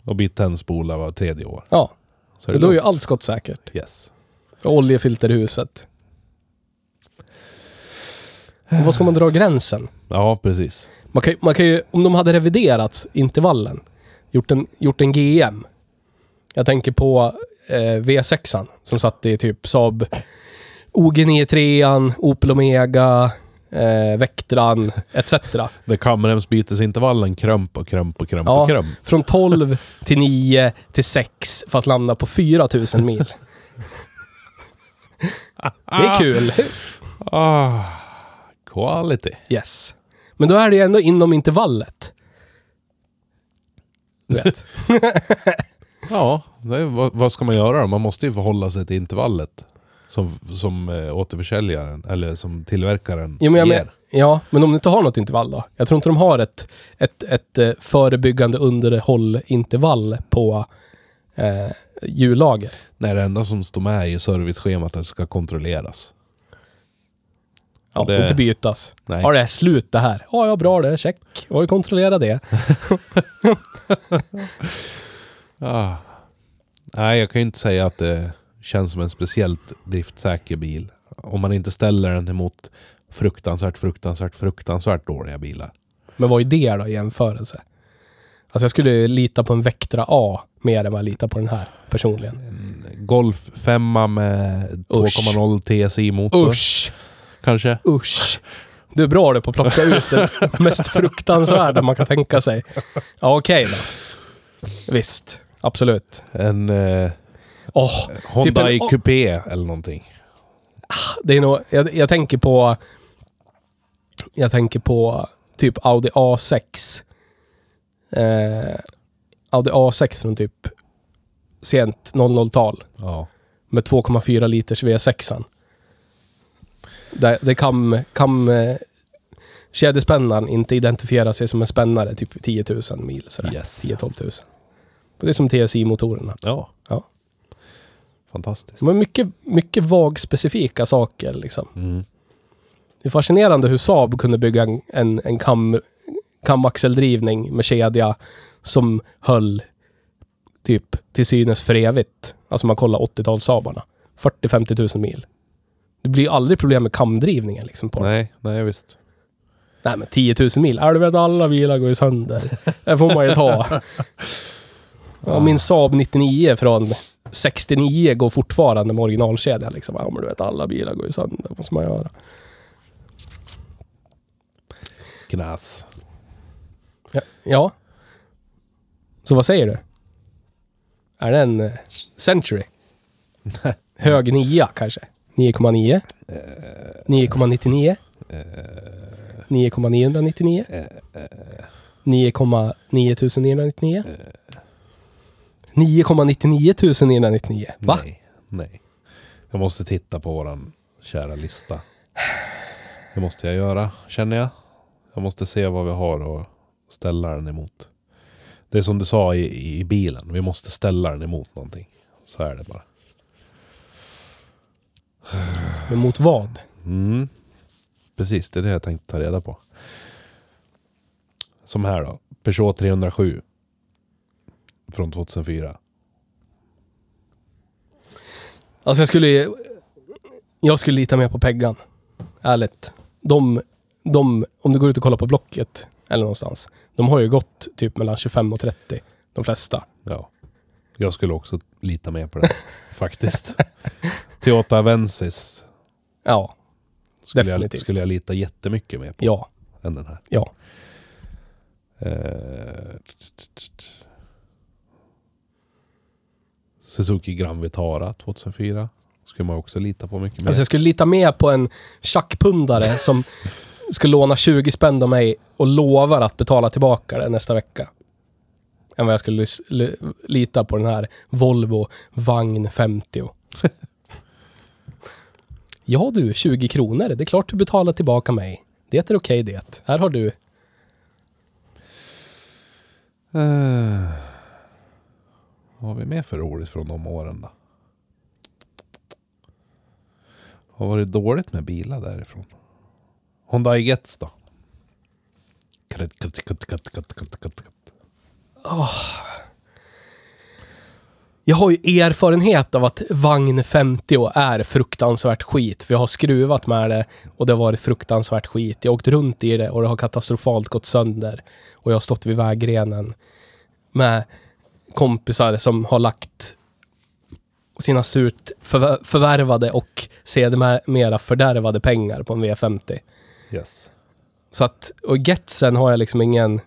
A: Och byt tändspola var tredje år.
B: Ja,
A: Så
B: och då är ju
A: lugnt.
B: allt skottsäkert.
A: Yes.
B: Och oljefilterhuset. Och vad ska man dra gränsen?
A: Ja, precis.
B: Man kan, ju- man kan ju, om de hade reviderat intervallen, gjort en, gjort en GM. Jag tänker på eh, V6an som satt i typ Saab OG93, Opel Omega, eh, Vectran etc.
A: Där kamremsbytesintervallen krömp och krömp och krömp
B: Ja.
A: och krömp.
B: Från 12 till 9 till 6 för att landa på 4000 mil. Det är kul.
A: Ah, quality.
B: Yes. Men då är det ju ändå inom intervallet. Du vet.
A: Ja, det är, vad, vad ska man göra då? Man måste ju förhålla sig till intervallet. Som, som eh, återförsäljaren, eller som tillverkaren
B: Jo, men jag
A: ger.
B: men, ja, men om du inte har något intervall då? Jag tror inte de har ett, ett, ett eh, förebyggande underhåll-intervall på eh, hjullager.
A: Nej, det enda som står med i serviceschemat är att det ska kontrolleras.
B: Ja,
A: Det-
B: Inte bytas.
A: Nej.
B: Ja, det är slut det här. Ja, ja, bra det. Check. Jag har ju kontrollerat det.
A: Ah. Nej, jag kan ju inte säga att det känns som en speciellt driftsäker bil. Om man inte ställer den emot fruktansvärt, fruktansvärt, fruktansvärt dåliga bilar.
B: Men vad är det då i jämförelse? Alltså jag skulle ju lita på en Vectra A mer än vad jag litar på den här personligen.
A: Golf 5 med 2,0 TSI-motor.
B: Usch!
A: Kanske.
B: Usch! Du är bra du på att plocka ut det mest fruktansvärda man kan tänka sig. Ja, okej då. Visst. Absolut.
A: En eh,
B: Åh,
A: Honda
B: Typ en-
A: i kupé eller någonting.
B: det är nog... Jag, jag tänker på... Jag tänker på typ Audi A6. Eh, Audi A6 från typ sent 00-tal.
A: Ja.
B: med 2,4 liters V6. Där, där kam, kam, eh, kedjespännaren inte identifiera sig som en spännare typ vid 10 000 mil. Sådär.
A: Yes.
B: 10-12 000. Det är som TSI-motorerna.
A: Ja.
B: Ja.
A: Fantastiskt.
B: De är mycket, mycket vagspecifika saker. Liksom.
A: Mm.
B: Det är fascinerande hur Saab kunde bygga en, en, en kam, kamaxeldrivning med kedja som höll typ till synes för evigt. Alltså man kollar 80-tals Saabarna. 40-50 tusen mil. Det blir ju aldrig problem med kamdrivningen liksom på dem.
A: Nej, nej visst.
B: Nej men 10 000 mil. Ja, du vet alla bilar går ju sönder. Det får man ju ta. Ja, min Saab 99 från 69 går fortfarande med originalkedja. Liksom. Ja men du vet alla bilar går ju sönder. Vad ska man göra?
A: Knas.
B: Ja. ja. Så vad säger du? Är det en eh, Century? Hög 9 kanske? 9,9? 9,99? 9,999? 9,9999? 9,99999? Va?
A: Nej, nej. Jag måste titta på våran kära lista. Det måste jag göra, känner jag. Jag måste se vad vi har och ställa den emot. Det är som du sa i, i bilen, vi måste ställa den emot någonting. Så är det bara.
B: Men mot vad?
A: Mm. Precis, det är det jag tänkte ta reda på. Som här då. Peugeot 307. Från 2004.
B: Alltså jag skulle... Jag skulle lita mer på Peggan. Ärligt. De, de, om du går ut och kollar på Blocket eller någonstans. De har ju gått typ mellan 25 och 30. De flesta.
A: Ja. Jag skulle också lita mer på det. faktiskt. Toyota Avensis
B: Ja,
A: skulle jag,
B: Definitivt.
A: skulle jag lita jättemycket mer på
B: ja,
A: än den här.
B: ja.
A: Eh, t- t- t- t. Suzuki Gran Vitara 2004. Skulle man också lita på mycket mer.
B: Alltså jag skulle lita mer på en tjackpundare som ska låna 20 spänn av mig och lovar att betala tillbaka det nästa vecka. Än vad jag skulle lys- li- lita på den här Volvo Vagn 50. Ja du, 20 kronor. Det är klart du betalar tillbaka mig. Det är okej det. Här har du.
A: Eh, vad har vi mer för roligt från de åren då? Vad var det dåligt med bilar därifrån? Hyundai Getz då? Katt, katt, katt, katt, katt, katt, katt, katt.
B: Jag har ju erfarenhet av att Vagn 50 är fruktansvärt skit. För jag har skruvat med det och det har varit fruktansvärt skit. Jag har åkt runt i det och det har katastrofalt gått sönder. Och jag har stått vid vägrenen med kompisar som har lagt sina surt förvä- förvärvade och sedermera fördärvade pengar på en V50.
A: Yes.
B: Så att, och Getsen har jag liksom ingen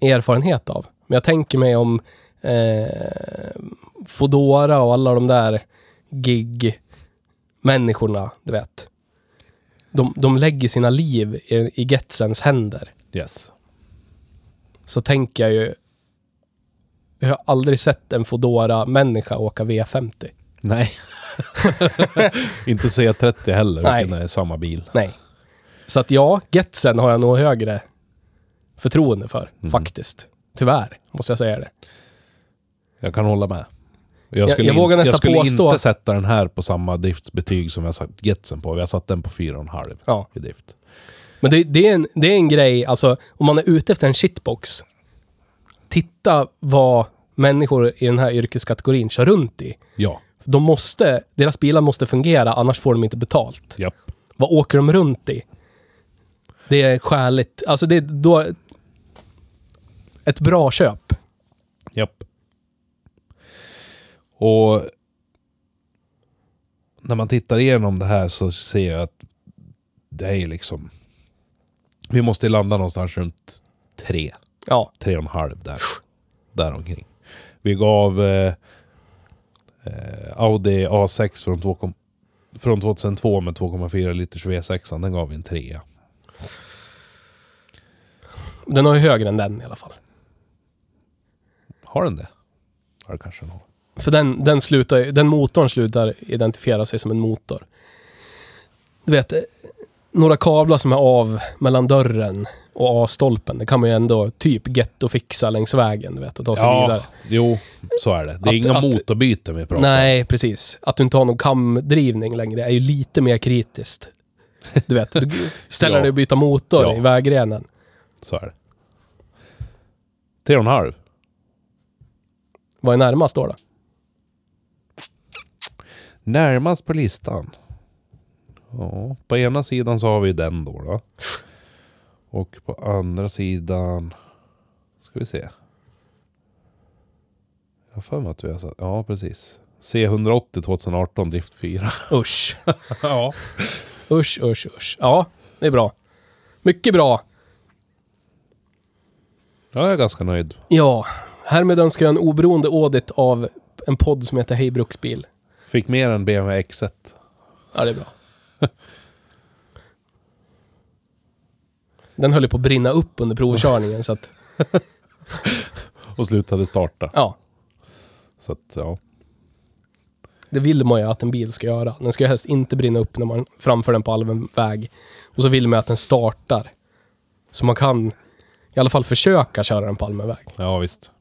B: erfarenhet av. Men jag tänker mig om eh, Fodora och alla de där gig-människorna, du vet. De, de lägger sina liv i, i Getsens händer.
A: Yes.
B: Så tänker jag ju... Jag har aldrig sett en fodora människa åka V50.
A: Nej. Inte C30 heller,
B: Nej.
A: vilken är samma bil.
B: Nej. Så att ja, Getsen har jag nog högre förtroende för, faktiskt. Tyvärr, måste jag säga det.
A: Jag kan hålla med.
B: Jag- jag
A: in-
B: vågar nästan
A: jag skulle
B: påstå-
A: inte sätta den här på samma driftsbetyg som jag satt Getsen på. Vi har satt den på 4,5
B: Ja.
A: i drift.
B: Men det, det, är en, det är en grej, alltså om man är ute efter en shitbox. Titta vad människor i den här yrkeskategorin kör runt i.
A: Ja.
B: De måste, deras bilar måste fungera, annars får de inte betalt.
A: Japp.
B: Vad åker de runt i? Det är skäligt. Alltså det är då... Ett bra köp.
A: Japp. Och när man tittar igenom det här så ser jag att det är liksom... Vi måste landa någonstans runt tre,
B: Ja,
A: tre och en halv där. där omkring. Vi gav eh, eh, Audi A6 från, 2, kom- från 2002 med 2,4 liters V6. Den gav vi en trea.
B: den har ju högre än den i alla fall.
A: Har den det? Ja, det kanske den har.
B: För den, den, slutar, ju- den motorn slutar identifiera sig som en motor. Du vet, eh, några kablar som är av mellan dörren och A-stolpen, det kan man ju ändå typ getto fixa längs vägen, du vet, och ta sig vidare.
A: jo, så är det. Det är
B: Att-
A: inga
B: att-
A: motorbyten vi pratar om.
B: Nej, precis. Att du inte har någon kamdrivning längre är ju lite mer kritiskt. Du vet, du ställer
A: Ja.
B: dig och byta motor
A: Ja.
B: i vägrenen.
A: Så är det. Tre och en halv.
B: Vad är närmast då? då?
A: Närmast på listan. Ja, på ena sidan så har vi den då. då. Och på andra sidan... Ska vi se. Jag har för mig att vi har satt... Ja, precis. C180 2018, drift 4.
B: Usch.
A: ja.
B: Usch, usch, usch. Ja, det är bra. Mycket bra.
A: Jag är ganska nöjd.
B: Ja, härmed önskar jag en oberoende audit av en podd som heter Hej Bruksbil.
A: Fick mer än BMW X1.
B: Ja, det är bra. Den höll ju på att brinna upp under provkörningen, så att...
A: Och slutade starta.
B: Ja,
A: Så att, ja.
B: det vill man ju att en bil ska göra. Den ska ju helst inte brinna upp när man framför den på allmän väg. Och så vill man ju att den startar. Så man kan i alla fall försöka köra den på allmän väg.
A: Ja, visst.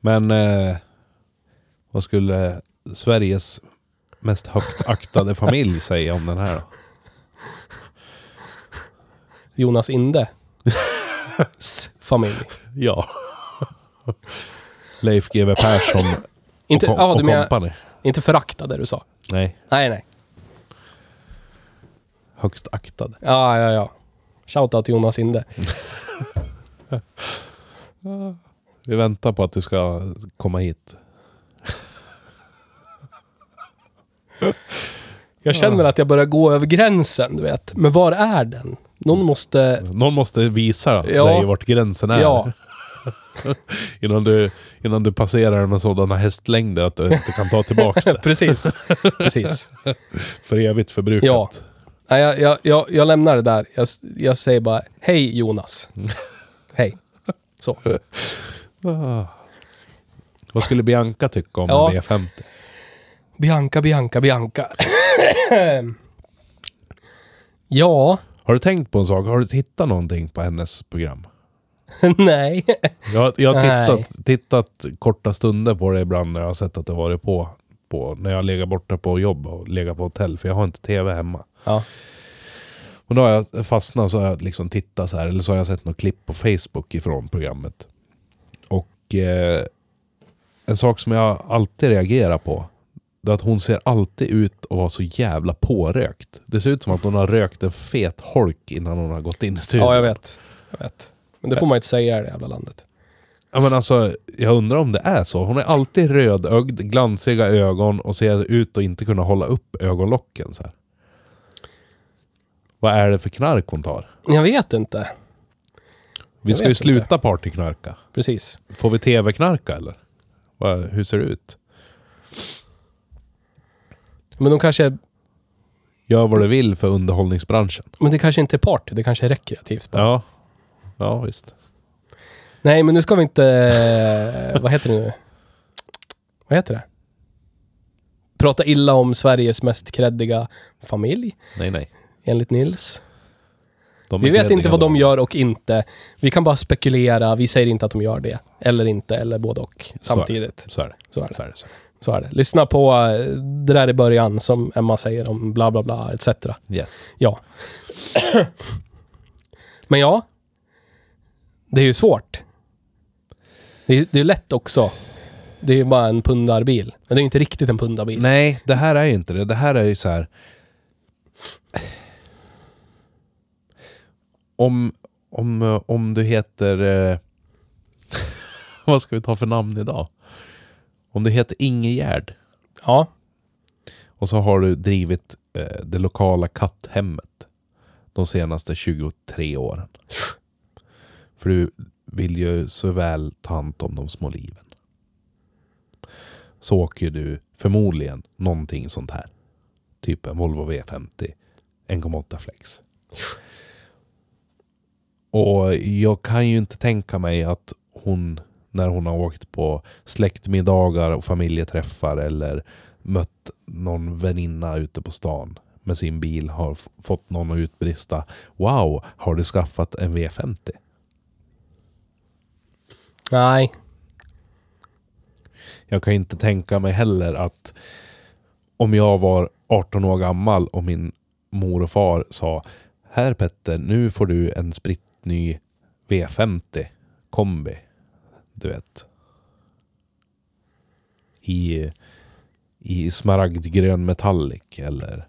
A: Men eh, vad skulle Sveriges mest högt aktade familj säga om den här då?
B: Jonas Inde. S familj.
A: Ja. Leif GW Persson
B: Inte,
A: och,
B: ja,
A: och
B: du menar,
A: company.
B: inte föraktade du sa?
A: Nej,
B: Nej, nej.
A: högst aktade.
B: Ja, ja, ja. Shoutout till Jonas Inde.
A: Vi väntar på att du ska komma hit.
B: Jag känner att jag börjar gå över gränsen, du vet. Men var är den? Någon måste...
A: Någon måste visa
B: Ja.
A: dig vart gränsen är.
B: Ja,
A: Innan, du, innan du passerar den med sådana hästlängder att du inte kan ta tillbaka det.
B: precis. precis.
A: För evigt förbrukat.
B: Ja. Nej, jag, jag, jag, jag lämnar det där. Jag, s- jag säger bara, hej Jonas. Hej. Så.
A: Ah. Vad skulle Bianca tycka om
B: Ja.
A: en V50?
B: Bianca, Bianca, Bianca. ja,
A: Har du tänkt på en sak? Har du tittat någonting på hennes program?
B: nej.
A: Jag, jag har
B: Nej.
A: tittat, tittat korta stunder på det ibland när jag har sett att det varit på. på när jag har legat borta på jobb och legat på hotell, för jag har inte tv hemma.
B: Ja.
A: Och då har jag fastnat och så har jag liksom tittat så här, eller så har jag sett något klipp på Facebook ifrån programmet. Och eh, en sak som jag alltid reagerar på, det är att hon ser alltid ut att vara så jävla pårökt. Det ser ut som att hon har rökt en fet holk innan hon har gått in i studion.
B: Ja, jag vet. Jag vet. Men det får man ju inte säga i det jävla landet.
A: Ja, men alltså, jag undrar om det är så. Hon är alltid rödögd, glansiga ögon och ser ut att inte kunna hålla upp ögonlocken. Så här. Vad är det för knark hon tar?
B: Jag vet inte.
A: Vi
B: Jag
A: ska ju
B: vet
A: sluta partyknarka.
B: Precis.
A: Får vi tv-knarka eller? Vad- Hur ser det ut?
B: Men de kanske...
A: Gör vad du vill för underhållningsbranschen.
B: Men det kanske inte är party, det kanske är rekreativt. bara.
A: Ja, ja visst.
B: Nej, men nu ska vi inte... vad heter det nu? Vad heter det? Prata illa om Sveriges mest kreddiga familj,
A: Nej, nej.
B: enligt Nils.
A: De är
B: Vi vet inte
A: lediga
B: vad de
A: då.
B: gör och inte. Vi kan bara spekulera. Vi säger inte att de gör det. Eller inte, eller både och samtidigt.
A: Så är det.
B: Så är det.
A: Så är det. Så är
B: Så är det. Lyssna på eh, det där i början som Emma säger om bla bla bla etc.
A: det. Yes.
B: Ja. Men ja. Det är ju svårt. Det är, det är lätt också. Det är ju bara en pundarbil. Men det är ju inte riktigt en pundarbil.
A: Nej, det här är ju inte det. Det här är ju så här... Om, om, eh, om du heter... Eh... Vad ska vi ta för namn idag? Om du heter Ingegärd
B: Ja.
A: och så har du drivit eh, det lokala katthemmet de senaste 23 åren. För du vill ju så väl ta hand om de små liven. Så åker du förmodligen någonting sånt här. Typ en Volvo V50 1,8 flex. Och jag kan ju inte tänka mig att hon, när hon har åkt på släktmiddagar och familjeträffar eller mött någon väninna ute på stan med sin bil har f- fått någon att utbrista Wow, har du skaffat en V50?
B: Nej.
A: Jag kan inte tänka mig heller att om jag var 18 år gammal och min mor och far sa Här Petter, nu får du en spritt ny V50 kombi. Du vet. i, i smaragdgrön metallic eller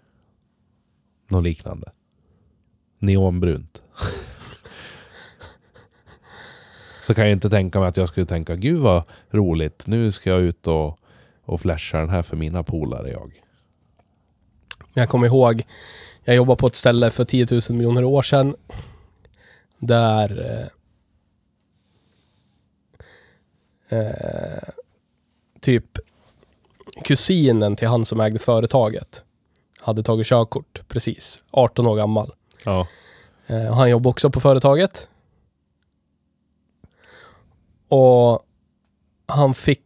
A: något liknande. Neonbrunt. Så kan jag inte tänka mig att jag skulle tänka gud vad roligt, nu ska jag ut och, och flasha den här för mina polare jag.
B: Men jag kommer ihåg, jag jobbade på ett ställe för 10 000 miljoner år sedan. Där... Eh, eh, typ kusinen till han som ägde företaget hade tagit körkort precis, 18 år gammal.
A: Ja.
B: Eh, och han jobbade också på företaget. Och han fick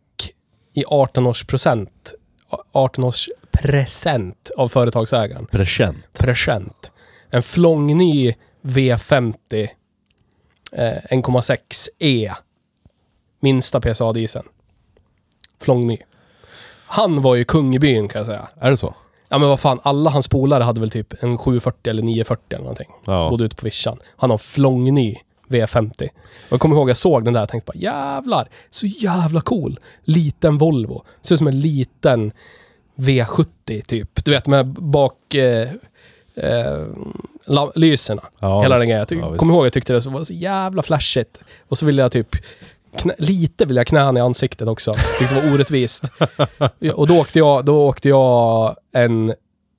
B: i 18 års procent, 18 års present av företagsägaren,
A: Present.
B: present, en flångny V50 eh, 1,6 E. Minsta PSA-dieseln. Flångny. Han var ju kung i byn kan jag säga.
A: Är det så?
B: Ja men vad fan, alla hans polare hade väl typ en 740 eller 940 eller någonting.
A: Ja.
B: Bodde ute på vischan. Han har en flångny V50. Och jag kommer ihåg jag såg den där och tänkte bara jävlar, så jävla cool. Liten Volvo. Ser ut som en liten V70 typ. Du vet med bak... Eh, eh, la- lyserna.
A: Ja,
B: Hela
A: visst.
B: den grejen. Jag ty-
A: Ja, visst.
B: kommer ihåg jag tyckte det var så jävla flashigt. Och så ville jag typ... Knä, lite ville jag knä han i ansiktet också. Tyckte det var orättvist. Ja, Och då åkte jag, då åkte jag en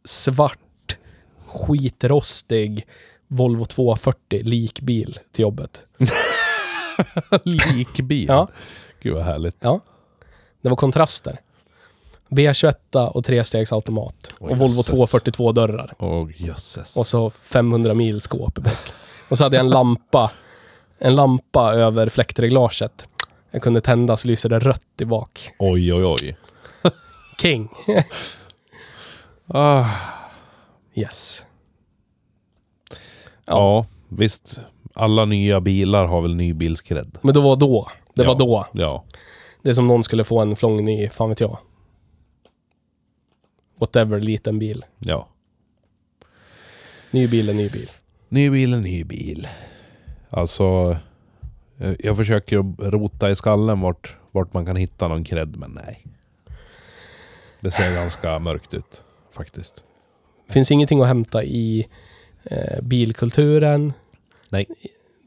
B: svart, skitrostig Volvo 240 likbil till jobbet.
A: Likbil.
B: Ja.
A: Gud vad härligt.
B: Det var kontraster. B21 och trestegsautomat.
A: Åh,
B: och Volvo
A: jösses.
B: 242 dörrar.
A: Åh jösses.
B: Och så 500 mil skåp i bak. Och så hade jag en lampa, en lampa över fläktreglaget. Jag kunde tända så lyser det rött i bak.
A: Oj, oj, oj.
B: King!
A: Ah,
B: Yes.
A: ja. visst. Alla nya bilar har väl ny bilskrädd.
B: Men det var då. Det var
A: Ja.
B: då.
A: Ja.
B: Det är som någon skulle få en flångny, fan vet jag. Whatever, liten bil.
A: ja.
B: Ny bil är ny bil.
A: Ny bil är ny bil. Alltså, eh, jag försöker att rota i skallen vart, vart man kan hitta någon cred, men nej. Det ser ganska mörkt ut, faktiskt.
B: finns ingenting att hämta i eh, bilkulturen.
A: Nej.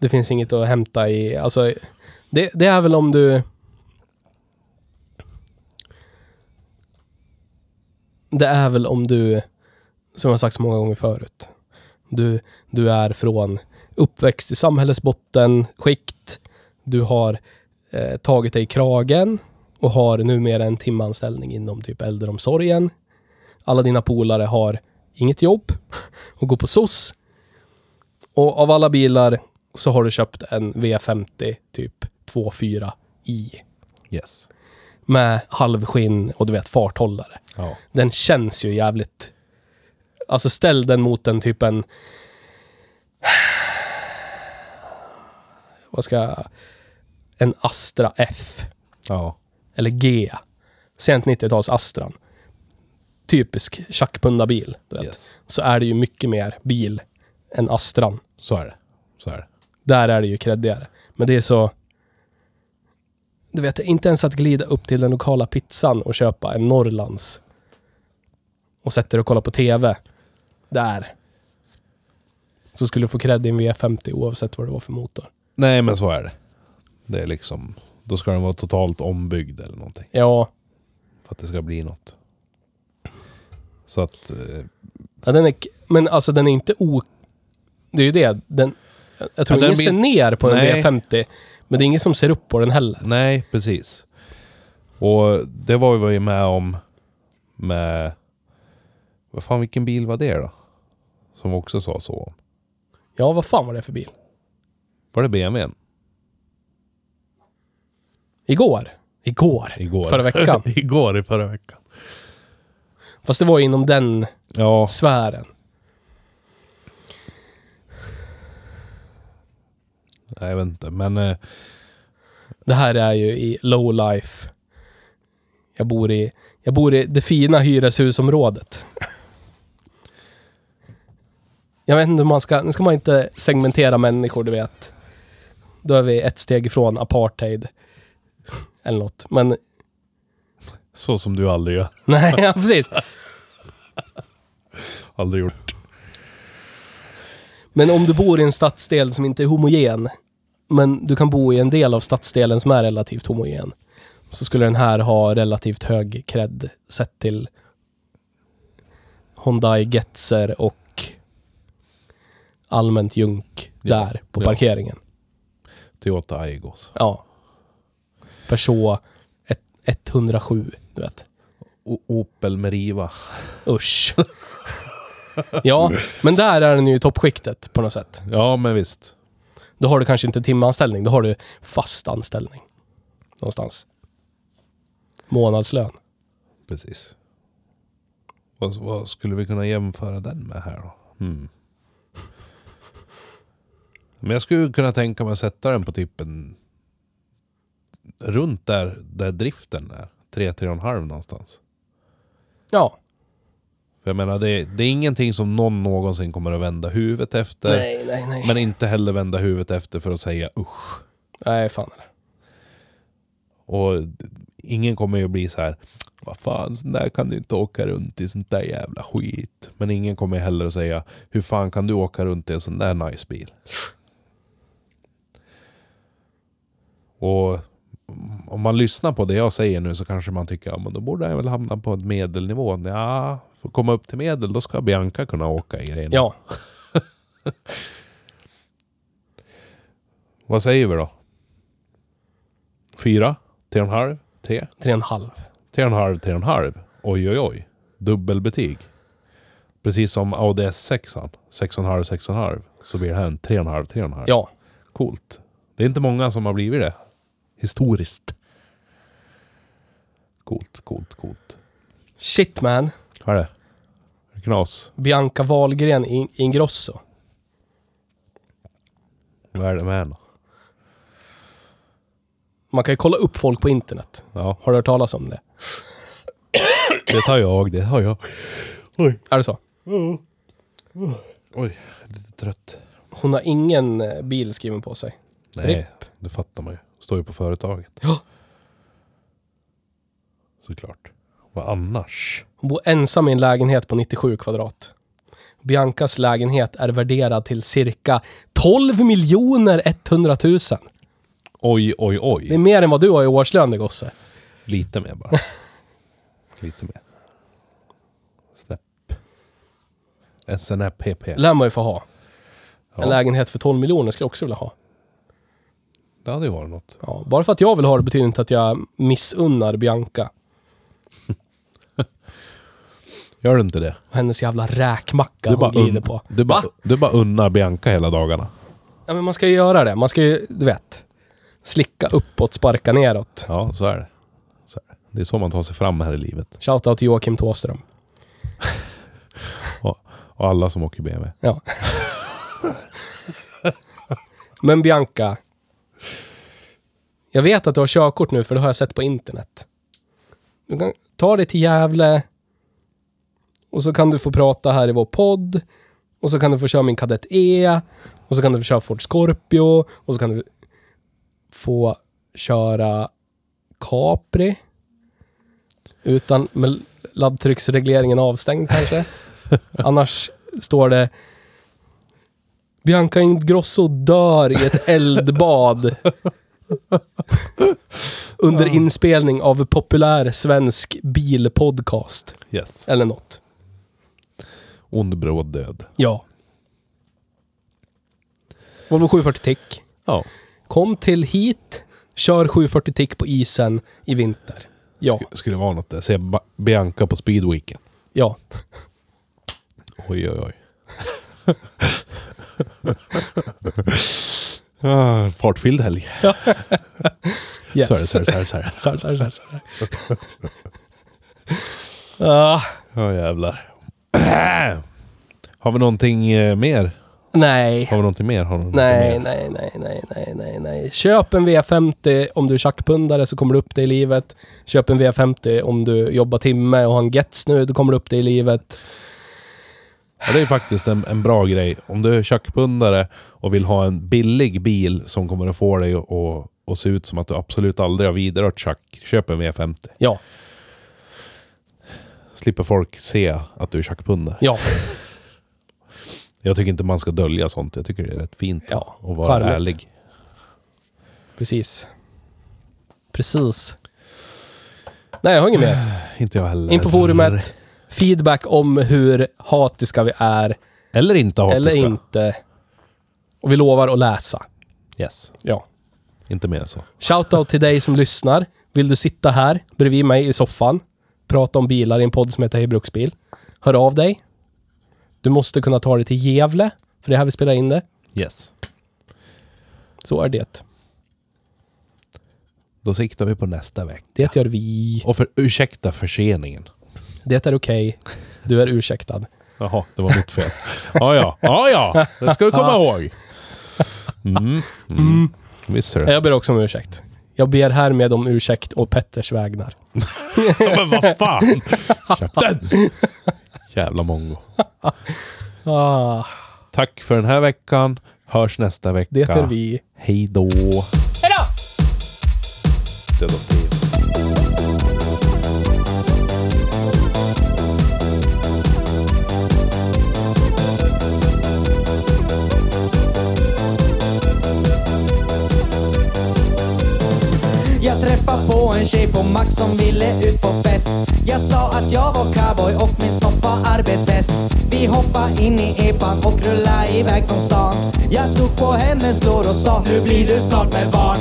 B: Det finns inget att hämta i... Alltså, det, det är väl om du... Det är väl om du, som jag sagt så många gånger förut, du, du är från uppväxt i samhällets bottenskikt. Du har eh, tagit dig i kragen och har numera en timanställning inom typ äldreomsorgen. Alla dina polare har inget jobb och går på SOS. Och av alla bilar så har du köpt en V50 typ 2.4 i
A: Yes.
B: med halvskinn och du vet farthållare.
A: Ja.
B: Den känns ju jävligt... Alltså ställ den mot en typ en... Vad ska jag... En Astra F.
A: Ja.
B: Eller G. Sent 90-tals Astran. Typisk tjackpundarbil. Du vet
A: Yes.
B: så är det ju mycket mer bil än Astran.
A: Så är det. Så är det.
B: Där är det ju creddigare. Men det är så... Du vet, inte ens att glida upp till den lokala pizzan och köpa en Norrlands och sätta dig och kolla på TV. Där. Så skulle du få cred i en V50 oavsett vad det var för motor.
A: Nej, men så är det. Det är liksom... Då ska den vara totalt ombyggd eller någonting.
B: Ja,
A: För att det ska bli något. Så att... eh,
B: ja den är, k- men alltså den är inte o... Det är ju det. Den, jag- jag tror
A: Ja, den
B: ingen
A: blir-
B: ser ner på en
A: Nej.
B: V50, men det är ingen som ser upp på den heller.
A: Nej, precis. Och det var vi var ju med om med... Vad fan, vilken bil var det då? Som också sa så.
B: Ja, vad fan var det för bil?
A: Var det BMWn?
B: Igår. Igår.
A: Igår.
B: Förra veckan.
A: Igår i förra veckan.
B: Fast det var ju inom den
A: Ja,
B: sfären.
A: nej, jag vet inte. Men eh,
B: Det här är ju i low life. Jag bor i, jag bor i det fina hyreshusområdet. Jag vet inte hur man ska... Nu ska man inte segmentera människor, du vet. Då är vi ett steg ifrån apartheid. Eller något. Men
A: Så som du aldrig gör.
B: Nej, ja, precis.
A: Aldrig gjort.
B: Men om du bor i en stadsdel som inte är homogen, men du kan bo i en del av stadsdelen som är relativt homogen, så skulle den här ha relativt hög cred sett till Hyundai Getzer och allmänt junk
A: Ja,
B: där på
A: ja.
B: parkeringen.
A: Toyota Aigos.
B: Ja. Peugeot ett- 107, du vet.
A: O- Opel Meriva.
B: Usch. ja, men där är den ju i toppskiktet på något sätt.
A: Ja, men visst.
B: Då har du kanske inte timanställning, då har du fast anställning. Någonstans. Månadslön.
A: Precis. Vad, vad skulle vi kunna jämföra den med här då? Hmm. Men jag skulle kunna tänka mig att sätta den på tippen runt där, där driften är. 3-3,5 någonstans.
B: Ja.
A: För jag menar, det, det är ingenting som någon någonsin kommer att vända huvudet efter.
B: Nej, nej, nej.
A: Men inte heller vända huvudet efter för att säga usch.
B: Nej, fan.
A: Och d- ingen kommer ju bli så här. Vad fan, sån där kan du inte åka runt i sånt där jävla skit. Men ingen kommer heller att säga, hur fan kan du åka runt i en sån där nice bil? Och om man lyssnar på det jag säger nu så kanske man tycker, ja men då borde jag väl hamna på en medelnivå. Ja, för att komma upp till medel då ska Bianca kunna åka i den.
B: Ja.
A: Vad säger vi då? Fyra? Tre och en halv? Tre?
B: Tre och en halv.
A: Tre och en halv, tre och en halv. Oj, oj, oj. Dubbelbetyg. Precis som Audi S6. Sex och en halv, sex och en halv. Så blir det här en tre och en halv, tre och en halv.
B: Ja.
A: Coolt. Det är inte många som har blivit det. Historiskt. Coolt, coolt, coolt.
B: Shit man.
A: Vad är det? Är det Knas.
B: Bianca Wahlgren in Ingrosso.
A: Vad är det med henne?
B: Man kan ju kolla upp folk på internet.
A: Ja,
B: Har du hört talas om det?
A: det tar jag. Det tar jag. Oj.
B: Är det så?
A: Oj, jag är lite trött.
B: Hon har ingen eh, bil skriven på sig.
A: Nej, det fattar man ju. Står ju på företaget.
B: Ja.
A: Såklart. Vad annars?
B: Hon bor ensam i en lägenhet på 97 kvadrat. Biancas lägenhet är värderad till cirka 12 miljoner 100 000.
A: Oj, oj,
B: Det
A: oj.
B: är mer än vad du har i årslön, det gosse.
A: Lite mer bara. Lite mer. Snäpp. SNPP.
B: lär man ju få ha. En
A: Ja,
B: lägenhet för 12 miljoner skulle jag också vilja ha.
A: det hade ju varit något.
B: Ja, bara för att jag vill ha det betyder inte att jag missunnar Bianca
A: Gör du inte det?
B: och hennes jävla
A: Du
B: räkmacka hon
A: bara,
B: glider
A: un-
B: på.
A: du, bara,
B: Va?
A: du bara unnar Bianca hela dagarna.
B: Ja, men man ska ju göra det. Man ska ju, du vet, slicka uppåt, sparka neråt.
A: Ja, så är det. Så är det. det är så man tar sig fram här i livet.
B: Shoutout till Joakim Thåström.
A: Och alla som åker BMW.
B: Ja. men Bianca. Jag vet att du har körkort nu, för det har jag sett på internet. Du kan ta dig till Gävle. Och så kan du få prata här i vår podd. Och så kan du få köra min Kadett E. Och så kan du få köra Ford Scorpio. Och så kan du få köra Capri. Utan med laddtrycksregleringen avstängd kanske. Annars står det Bianca Ingrosso dör i ett eldbad. Under inspelning av populär svensk bilpodcast.
A: Yes.
B: Eller något.
A: Ond bråd död.
B: Ja. Volvo 740 Tick.
A: Ja.
B: Kom till hit, kör 740 Tick på isen i vinter. Ja,
A: Sk- skulle vara något där. Se Ba- Bianca på speedweeken.
B: ja.
A: Oj, oj, oj. ah, fartfylld helg.
B: Yes.
A: Sorry, sorry, sorry. sorry.
B: Sorry, sorry, sorry, sorry. Ah,
A: Ja, jävlar. har vi någonting eh, mer?
B: nej.
A: Har vi någonting mer? Har vi någonting
B: Nej,
A: mer?
B: nej, nej, nej, nej, nej, nej. Köp en V50 om du är tjackpundare så kommer du upp dig i livet. Köp en V50 om du jobbar timme och har en Gets nu, då kommer du upp dig i livet.
A: Ja, det är faktiskt en, en bra grej. Om du är tjackpundare och vill ha en billig bil som kommer att få dig att- att att se ut som att du absolut aldrig har vidrört tjack, köp en V50.
B: Ja,
A: slipper folk se att du är tjackpundare.
B: Ja,
A: Jag tycker inte man ska dölja sånt. Jag tycker det är rätt fint
B: Ja,
A: att vara
B: charmigt.
A: ärlig.
B: precis. Precis. Nej, jag har inget mer.
A: Inte jag heller.
B: In på forumet. Feedback om hur hatiska vi är
A: Eller inte hatiska.
B: eller inte. Och vi lovar att läsa.
A: Yes.
B: Ja.
A: Inte mer än så.
B: Shoutout till dig som lyssnar. Vill du sitta här bredvid mig i soffan, prata om bilar i en podd som heter Hej Bruksbil? Hör av dig. Du måste kunna ta dig till Gävle, för det är här vi spelar in det.
A: Yes.
B: Så är det.
A: Då siktar vi på nästa vecka.
B: Det gör vi.
A: Och för, ursäkta förseningen.
B: Det är okej. Du är ursäktad.
A: Jaha, det var mitt fel. ja, ja. Ja, ja. Det ska vi komma ihåg. Mm. Mm. Visst ser du.
B: Jag ber också om ursäkt. Jag ber härmed om ursäkt och Petters vägnar.
A: Ja, men vad fan! Käften! Jävla mongo.
B: Ah,
A: Tack för den här veckan. Hörs nästa vecka.
B: det är vi.
A: Hej då.
B: Hej då!
A: Det är de tio.
C: Jag träffade på en tjej på Max som ville ut på fest Jag sa att jag var cowboy och min snopp var arbetshäst Vi hoppade in i epan och rullade iväg från stan Jag tog på hennes lår och sa Nu blir du snart med barn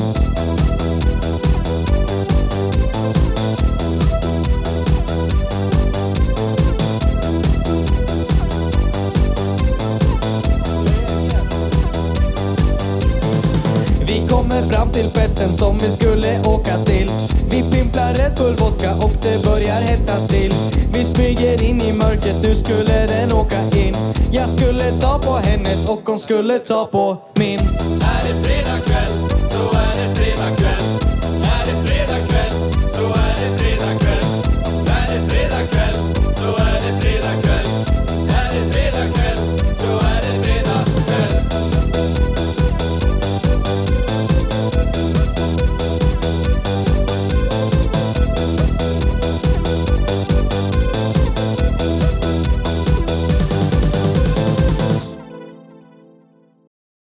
C: Vi kommer fram till festen som vi skulle åka till Vi pimplar Red Bull vodka och det börjar hetta till Vi smyger in i mörkret, nu skulle den åka in Jag skulle ta på hennes och hon skulle ta på min